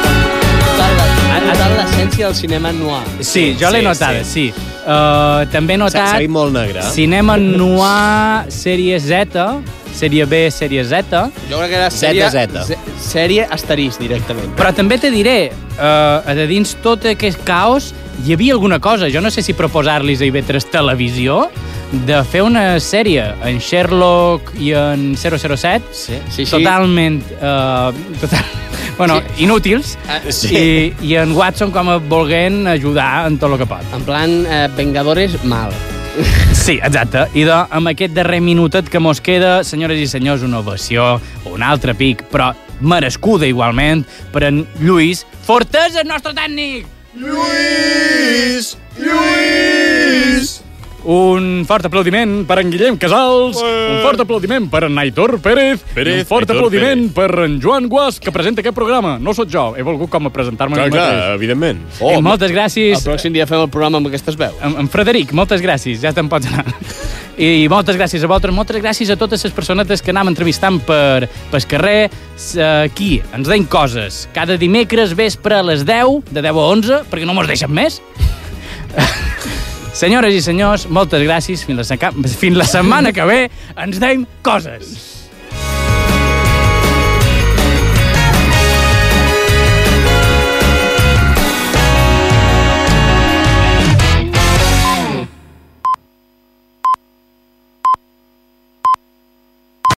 Ha notat l'essència del cinema noir.
Sí, jo l'he notada, sí. Uh, també he notat...
S'ha- s'ha dit molt negre.
eh?
Cinema noir, sèrie Z, sèrie B, sèrie Z.
Jo crec que era
Zeta,
sèrie...
zeta.
ze- Sèrie asterís, directament.
Però també te diré, eh, de dins tot aquest caos hi havia alguna cosa. Jo no sé si proposar-los a IB3 Televisió de fer una sèrie en Sherlock i en 007 sí,
sí, sí.
totalment... Eh, total, *laughs* bueno, sí. inútils.
Ah,
sí. I, I en Watson com a volguent ajudar en tot el que pot.
En plan, eh, Vengadores, mal.
Sí, exacte. I de, amb aquest darrer minutet que mos queda, senyores i senyors, una ovació, un altre pic, però merescuda igualment per en Lluís Fortesa, el nostre tècnic! Lluís! Lluís! Un fort aplaudiment per en Guillem Casals, un fort aplaudiment per en Aitor Pérez,
Pérez,
i un fort
Aitor
aplaudiment per en Joan Guas, que presenta aquest programa. No sóc jo, he volgut com a presentar-me a mi mateix.
evidentment.
Oh, eh, moltes gràcies.
El pròxim dia fem el programa amb aquestes veus.
En, en Frederic, moltes gràcies, ja te'n pots anar. I moltes gràcies a vosaltres, moltes gràcies a totes les personetes que anam entrevistant per pel carrer. S- eh, Aquí ens deim coses. Cada dimecres vespre a les 10, de 10 a 11, perquè no mos deixen més. *laughs* Senyores i senyors, moltes gràcies. Fins la, seca- fins la setmana que ve ens deim coses.